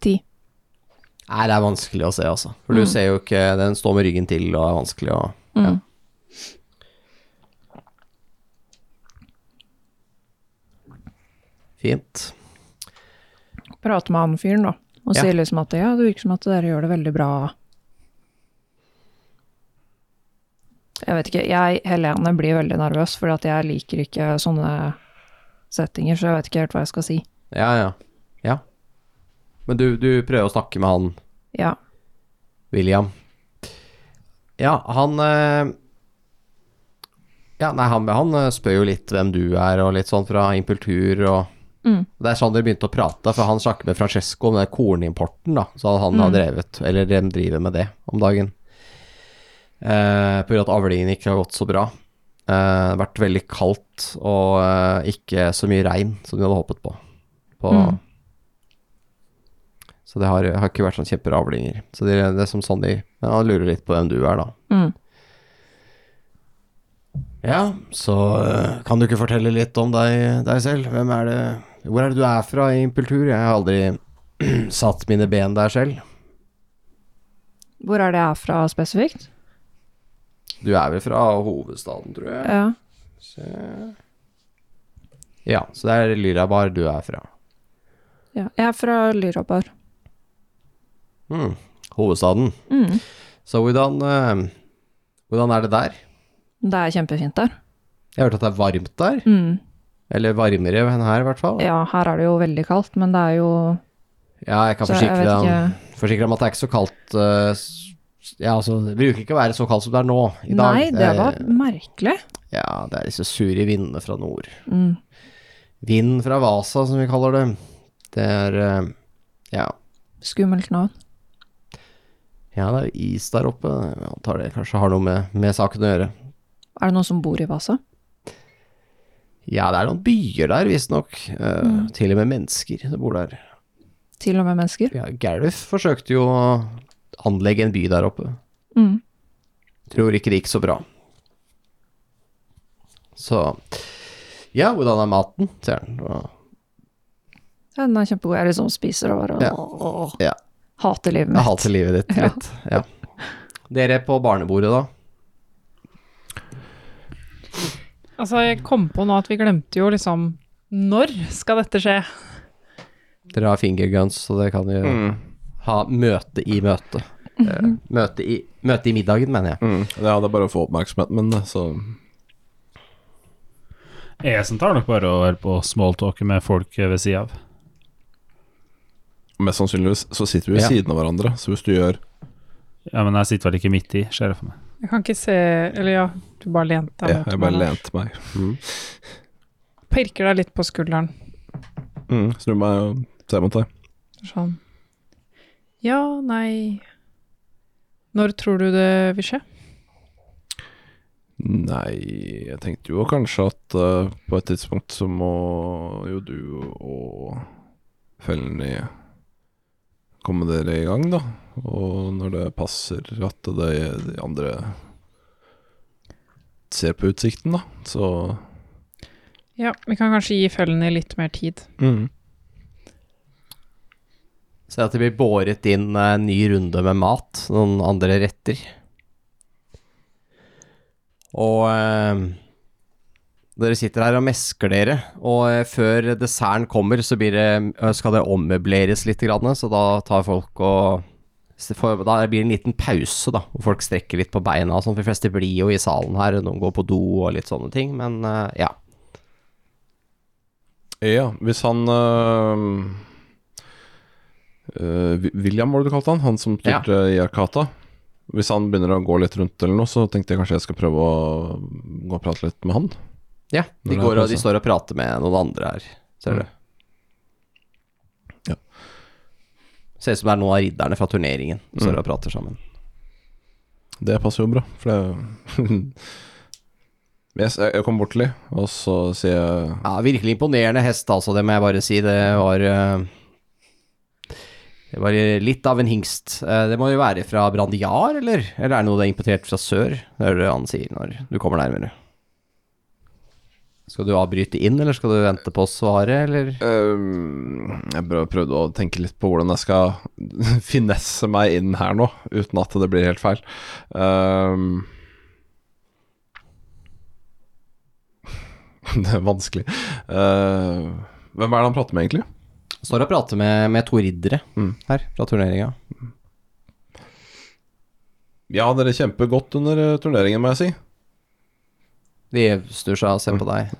H: Ti.
B: Nei, det er vanskelig å se, altså. For du ser jo ikke Den står med ryggen til og er vanskelig å ja. Fint.
H: Prater med han fyren, da. Og
B: Ja.
H: sier liksom at ja, det virker som at dere gjør det veldig bra. Jeg vet ikke. Jeg, Helene, blir veldig nervøs, fordi at jeg liker ikke sånne settinger, så jeg vet ikke helt hva jeg skal si.
B: Ja, ja. Ja. Men du, du prøver å snakke med han
H: Ja.
B: William. Ja, han eh, Ja, nei, han, han eh, spør jo litt hvem du er, og litt sånn fra impultur og
H: Mm.
B: Det er sånn dere begynte å prate, for han snakker med Francesco om den kornimporten, da. Så han
H: Mm.
B: har drevet, eller de driver med det om dagen. Eh, på grunn av at avlingen ikke har gått så bra. Eh, det har vært veldig kaldt og eh, ikke så mye regn som de hadde håpet på. på
H: Mm.
B: Så det har, har ikke vært sånn kjempebra avlinger. Så det, det er som sånn de Men han lurer litt på hvem du er, da.
H: Mm.
B: Ja, så eh, kan du ikke fortelle litt om deg, deg selv? Hvem er det Hvor er det du er fra i Impultur? Jeg har aldri satt mine ben der selv.
H: Hvor er det jeg er fra spesifikt?
B: Du er vel fra hovedstaden, tror jeg.
H: Ja.
B: Ja, så det er Lyrabar du er fra.
H: ja. Jeg er fra Lyrabar.
B: Mm, hovedstaden.
H: Mm.
B: Så hvordan eh, Hvordan er det der?
H: Det er kjempefint der.
B: Jeg har hørt at det er varmt der.
H: Mm.
B: Eller varmere enn her, i hvert fall.
H: Ja, her er det jo veldig kaldt, men det er jo
B: Ja, jeg kan
H: Så jeg
B: forsikre
H: vet
B: deg om
H: ikke
B: Forsikre om at det er ikke så kaldt eh, s- Ja, altså, det bruker ikke å være så kaldt som det er nå i dag. Eh,
H: Nei, det
B: er-
H: var merkelig.
B: Ja, det er disse sure vindene fra nord.
H: Mm.
B: Vind fra Vasa, som vi kaller det. Det er eh, Ja.
H: Skummelt navn.
B: Ja, det er jo is der oppe. Jeg antar det kanskje har noe med, med saken å gjøre.
H: Er det noen som bor i Vasa?
B: Ja, det er noen byer der, visstnok. Uh,
H: Mm.
B: Til og med mennesker som bor der.
H: Til og med mennesker?
B: Ja, Gareth forsøkte jo å anlegge en by der oppe.
H: Mm.
B: Tror ikke det gikk så bra. Så Ja, hvordan er maten? sier han. Og-
H: Ja, den er kjempegod. Jeg liksom spiser og bare
B: Ja.
H: åh,
B: Ja.
H: hater livet mitt.
B: Jeg hater livet ditt
H: Ja.
B: litt. Ja. Dere på barnebordet, da?
C: Altså, jeg kom på nå at vi glemte jo liksom Når skal dette skje?
B: Dere har fingerguns, så dere kan jo ha møte i møte.
H: Mhm.
B: Eh, Møte i, møte i middagen, mener jeg.
G: Ja, det er bare å få oppmerksomheten min, så
D: Esen tar nok bare å være på smalltalke med folk ved sida av.
G: Mest sannsynligvis så sitter vi ved
B: Ja.
G: siden av hverandre, så hvis du gjør
D: Ja, men jeg sitter vel ikke midt i, ser jeg for meg.
C: Jeg kan ikke se Eller ja, du bare lente deg
G: Ja,
C: mot
G: jeg
C: meg
G: bare
C: der.
G: lente meg. Mm.
C: Pirker deg litt på skulderen.
G: Mm. Snur meg og ser mot deg.
C: Sånn. Ja, nei Når tror du det vil skje?
G: Nei, jeg tenkte jo kanskje at eh, på et tidspunkt så må jo du og Felny komme dere i gang, da. Og når det passer at det de andre ser på utsikten, da, så
C: Ja, vi kan kanskje gi følgene litt mer tid.
B: Se at det blir båret inn eh, en ny runde med mat, noen andre retter. Og eh, dere sitter her og mesker dere, og eh, før desserten kommer, så blir det, eh, skal det ommøbleres litt, grann, så da tar folk og så får- da blir det en liten pause, da, hvor folk strekker litt på beina. og Sånn, for de fleste blir jo i salen her, noen går på do og litt sånne ting, men eh, ja.
G: Ja, hvis han eh, eh, Vi- William, var det du kalte han? Han som styrte i Arkata? Hvis han begynner å gå litt rundt eller noe, så tenkte jeg kanskje jeg skal prøve å gå og prate litt med han.
B: ja de,
G: Når det er
B: går, og, de
G: pause. Mm.
B: står og prater med noen andre her, ser du.
G: Ja.
B: Ser ut som det er noen av ridderne fra turneringen som
G: Mm.
B: står og prater sammen.
G: Det passer jo bra, for det Men jeg, jeg kommer bort til dem, og så sier jeg
B: Ja, virkelig imponerende hest, altså, det må jeg bare si. Det var eh, Det var eh, litt av en hingst. Eh, Det må jo være fra Brandiar, eller? Eller er det noe det er importert fra sør? Det er det han sier når du kommer nærmere. Skal du avbryte inn, eller skal du vente på svaret, eller?
G: «Øhm, ehm, Jeg prøv- prøvde å tenke litt på hvordan jeg skal finesse meg inn her nå, uten at det blir helt feil. Ehm, Øhm. Det er vanskelig. Øh, hvem er det han prater med, egentlig?
B: Står og prater med, med to riddere
G: Mm.
B: her fra turneringa.
G: Ja, dere kjemper godt under eh, turneringen, må jeg si.
B: De snur seg og ser på deg.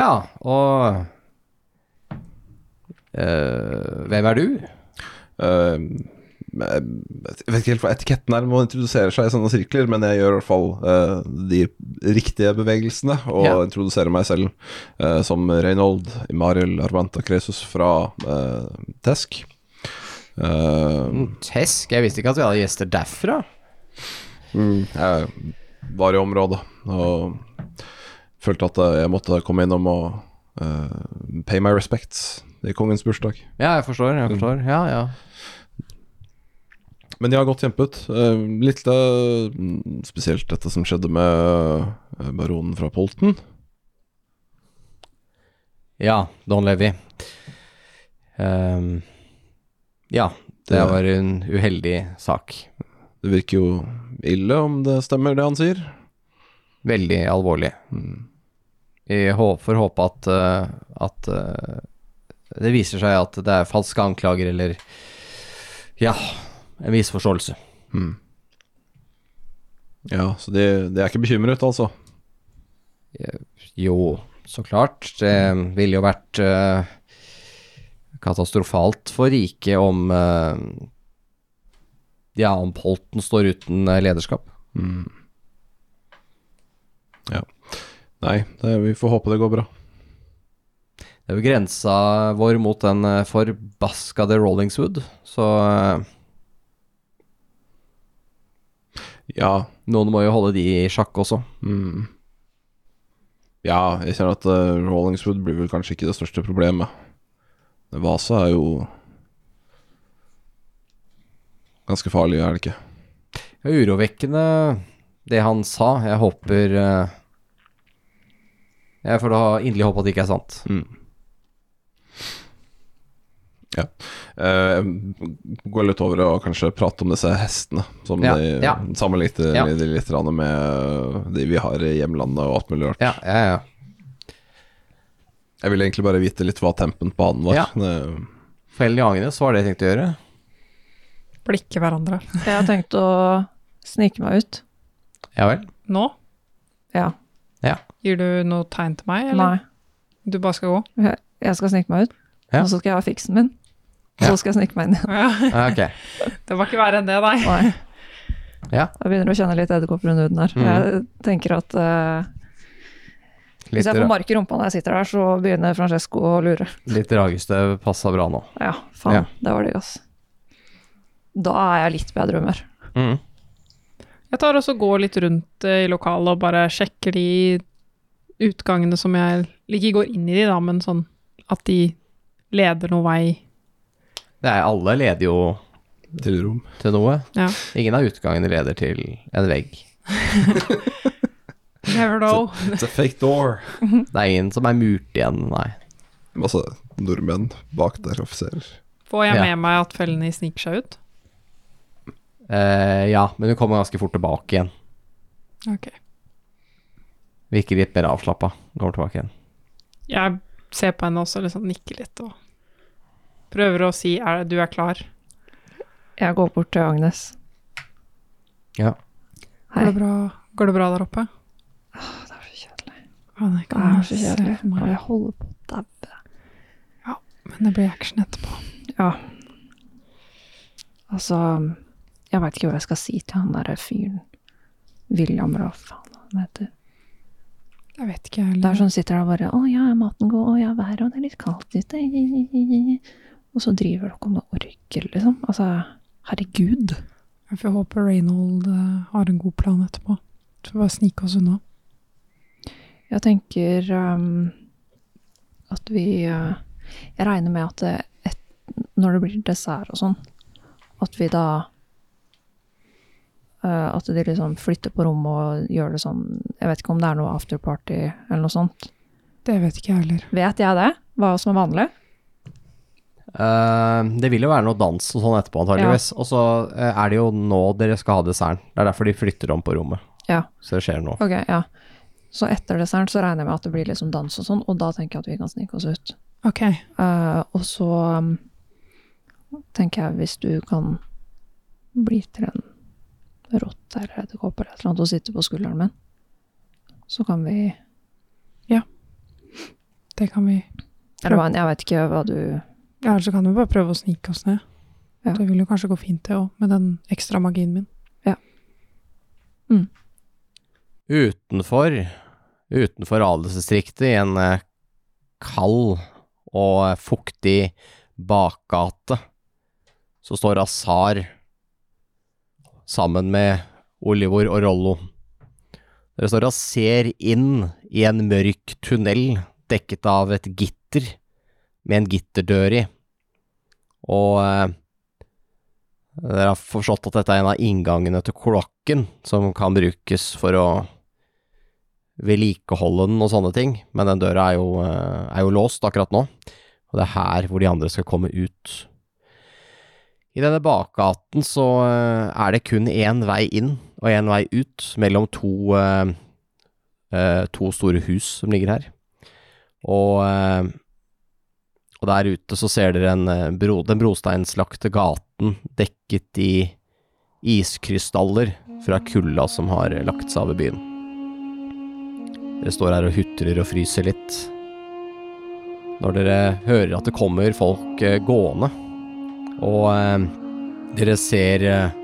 B: Ja, og Eh, Hvem er du?
G: Øhm, jeg Eh, jeg vet ikke helt hva etiketten er med å introdusere seg i sånne sirkler, men jeg gjør i hvert fall eh, de riktige bevegelsene og
B: Ja.
G: introduserer meg selv eh, som Reynold Imariel Arvanta Kresus fra eh, Tesk. Eh,
B: Tesk? Jeg visste ikke at vi hadde gjester derfra.
G: jeg var i området og følte at jeg måtte komme innom og eh, pay my respects i kongens bursdag.
B: Ja, jeg forstår. jeg forstår Ja, ja.
G: Men de har godt kjempet. Eh, Litt eh, mm, spesielt dette som skjedde med eh, baronen fra Polten.
B: Ja, Don Levi. Ehm, ja, det var en uheldig sak.
G: Det virker jo ille om det stemmer, det han sier.
B: Veldig alvorlig. Mm. Jeg hå- får håpe at, eh, at eh, det viser seg at det er falske anklager eller Ja, en misforståelse.
G: Ja, så de, de er ikke bekymret, altså.
B: Jo, så klart. Det ville jo vært eh, katastrofalt for riket om eh, Ja, om Polten står uten eh, lederskap.
G: Nei, det, vi får håpe det går bra.
B: Det er jo grensa vår mot den eh, forbaskede Rollingswood, så eh,
G: Ja.
B: Noen må jo holde de i sjakk også.
G: Mm. Ja, jeg kjenner at eh, Rollingswood blir vel kanskje ikke det største problemet. Men Vasa er jo ganske farlig, er det ikke?
B: Det er urovekkende det han sa. Jeg håper eh, Jeg får da inderlig håpe at det ikke er sant.
G: Eh, gå litt over og kanskje prate om disse hestene, som
B: Ja,
G: de
B: ja.
G: sammenlignet
B: Ja.
G: litt, litt grann med eh, de vi har i hjemlandet og alt mulig rart.
B: Ja, ja, ja.
G: Jeg ville egentlig bare vite litt hva tempen på han var.
B: Ja.
G: Det-
B: Fellen i Agnes var det jeg tenkte å gjøre.
C: Blikke hverandre.
H: Jeg har tenkt å snike meg ut.
B: Ja vel.
C: Nå?
H: Ja.
B: Ja.
C: Gir du noe tegn til meg, eller?
H: Nei,
C: Du bare skal gå?
H: jeg skal snike meg ut,
B: Ja.
H: og så skal jeg ha fiksen min.
B: Ja.
H: Så skal jeg snike meg inn igjen.
C: Ja,
B: Ja, Ok.
C: det var ikke verre enn det, nei.
H: Nei.
B: Ja. Mm.
H: Jeg begynner å kjenne litt edderkopper under huden her. Jeg tenker at eh,
B: Litt,
H: hvis jeg får
B: ra
H: mark i rumpa når jeg sitter der, så begynner Francesco å lure.
B: litt dragestøv passa bra nå.
H: Ja, faen.
B: Ja.
H: Det var digg, ass. Da er jeg litt bedre humør.
C: Jeg tar også går litt rundt eh, i lokalet og bare sjekker de utgangene som jeg Ikke går inn i de, da, men sånn at de leder noen vei.
B: Det er alle leder jo
G: Til rom.
B: til noe.
C: Ja.
B: Ingen av utgangene leder til en vegg.
C: Never know.
G: It's a fake door.
B: Det er ingen som er murt igjen, nei.
G: Masse nordmenn bak der, offiserer.
C: Får jeg
B: Ja.
C: med meg at fellene sniker seg ut?
B: Eh, ja, men hun kommer ganske fort tilbake igjen.
C: Ok.
B: Virker litt mer avslappa. Går tilbake igjen.
C: Jeg ser på henne også, liksom nikker litt og prøver å si er, du er klar.
H: Jeg går bort til Agnes.
B: Ja.
H: Hei.
C: Går det bra, går det bra der oppe?
H: Å, Det er så kjedelig.
C: Ja, det
H: Det
C: kan
H: er
C: jeg
H: så
C: se
H: kjedelig.
C: for meg.
H: Og jeg holder på å daue.
C: Men det blir action etterpå.
H: Ja. Altså, jeg veit ikke hva jeg skal si til han derre fyren. William, eller hva faen han heter.
C: Jeg vet ikke, jeg
H: Det er
C: heller.
H: sånn sitter der og bare Å ja, er maten god? Å ja, været, og det er litt kaldt ute. Og så driver dere med orgel, liksom. Altså, herregud.
C: Jeg får håpe Reynold eh, har en god plan etterpå. Så vi bare snike oss unna.
H: Jeg tenker ehm, at vi eh, Jeg regner med at det et, når det blir dessert og sånn, at vi da eh, At de liksom flytter på rommet og gjør det sånn Jeg vet ikke om det er noe afterparty eller noe sånt.
C: Det vet ikke jeg heller.
H: Vet jeg det? Hva som er vanlig?
B: Eh, det vil jo være noe dans og sånn etterpå, antageligvis. Og så eh, er det jo nå dere skal ha desserten. Det er derfor de flytter om på rommet.
H: Ja.
B: Så det skjer nå.
H: Ok, ja. Så etter desserten så regner jeg med at det blir liksom dans og sånn, og da tenker jeg at vi kan snike oss ut.
C: Ok,
H: Eh, og så um, tenker jeg hvis du kan bli til en rått eller edderkopp eller et eller annet og sitte på skulderen min, så kan vi
C: det kan vi.
H: Eller hva enn, jeg vet ikke hva du
C: Ja, ellers så kan vi bare prøve å snike oss ned.
H: Ja.
C: Det vil jo kanskje gå fint det òg, med den ekstra magien min.
B: Utenfor, utenfor adelsdistriktet, i en eh, kald og eh, fuktig bakgate, så står Azar sammen med Olivor og Rollo. Dere står og ser inn i en mørk tunnel dekket av et gitter med en gitterdør i. Og eh, dere har forstått at dette er en av inngangene til kloakken som kan brukes for å vedlikeholde den og sånne ting, men den døra er jo, eh, er jo låst akkurat nå, og det er her hvor de andre skal komme ut. I denne bakgaten så eh, er det kun én vei inn og én vei ut mellom to, eh, eh, to store hus som ligger her. Og, eh, og der ute så ser dere en, eh, bro, den brosteinslagte gaten dekket i iskrystaller fra kulda som har lagt seg over byen. Dere står her og hutrer og fryser litt. Når dere hører at det kommer folk eh, gående, og eh, dere ser eh,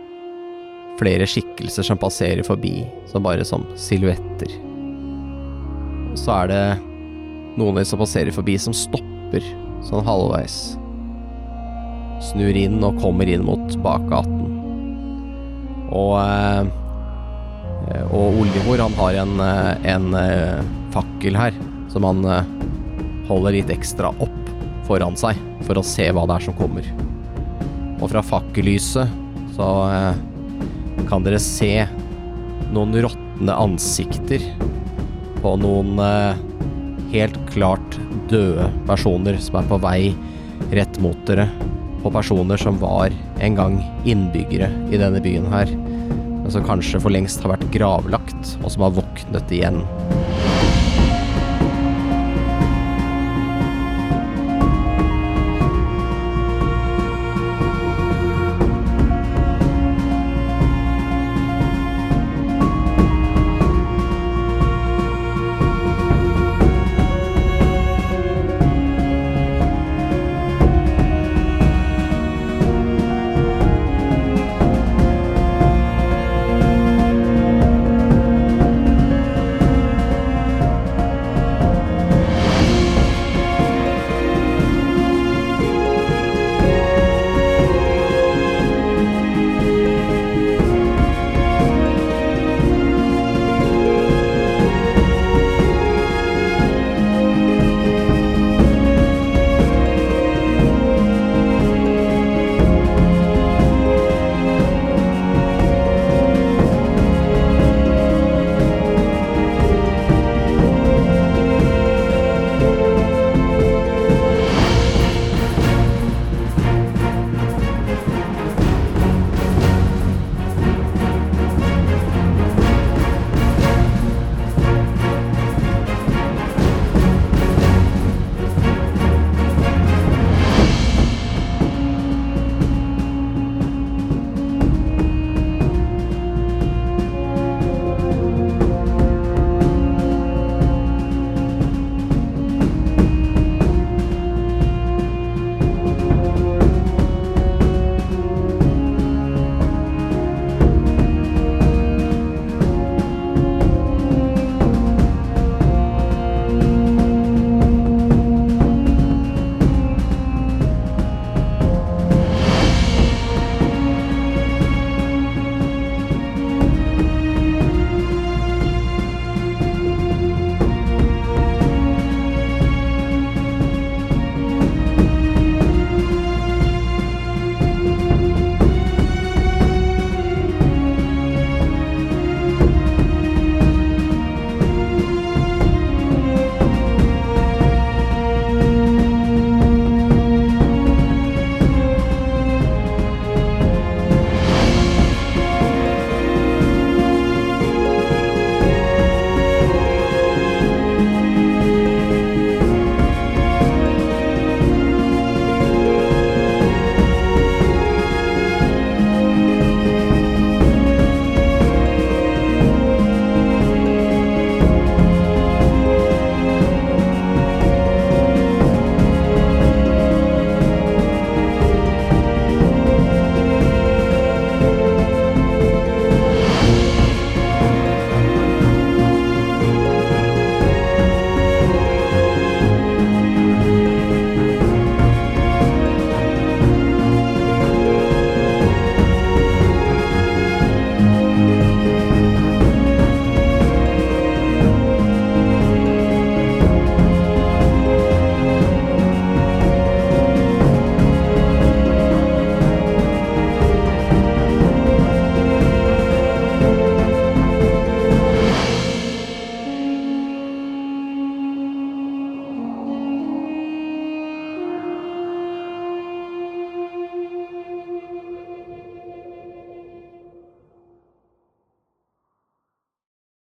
B: flere skikkelser som passerer forbi, som bare som silhuetter. Og så er det noen av de som passerer forbi, som stopper sånn halvveis. Snur inn og kommer inn mot bakgaten. Og eh, Og Olivor han har en, eh, en eh, fakkel her som han eh, holder litt ekstra opp foran seg for å se hva det er som kommer. Og fra fakkellyset så eh, kan dere se noen råtne ansikter på noen eh, helt klart døde personer som er på vei rett mot dere. På personer som var en gang innbyggere i denne byen her men som kanskje for lengst har vært gravlagt, og som har våknet igjen.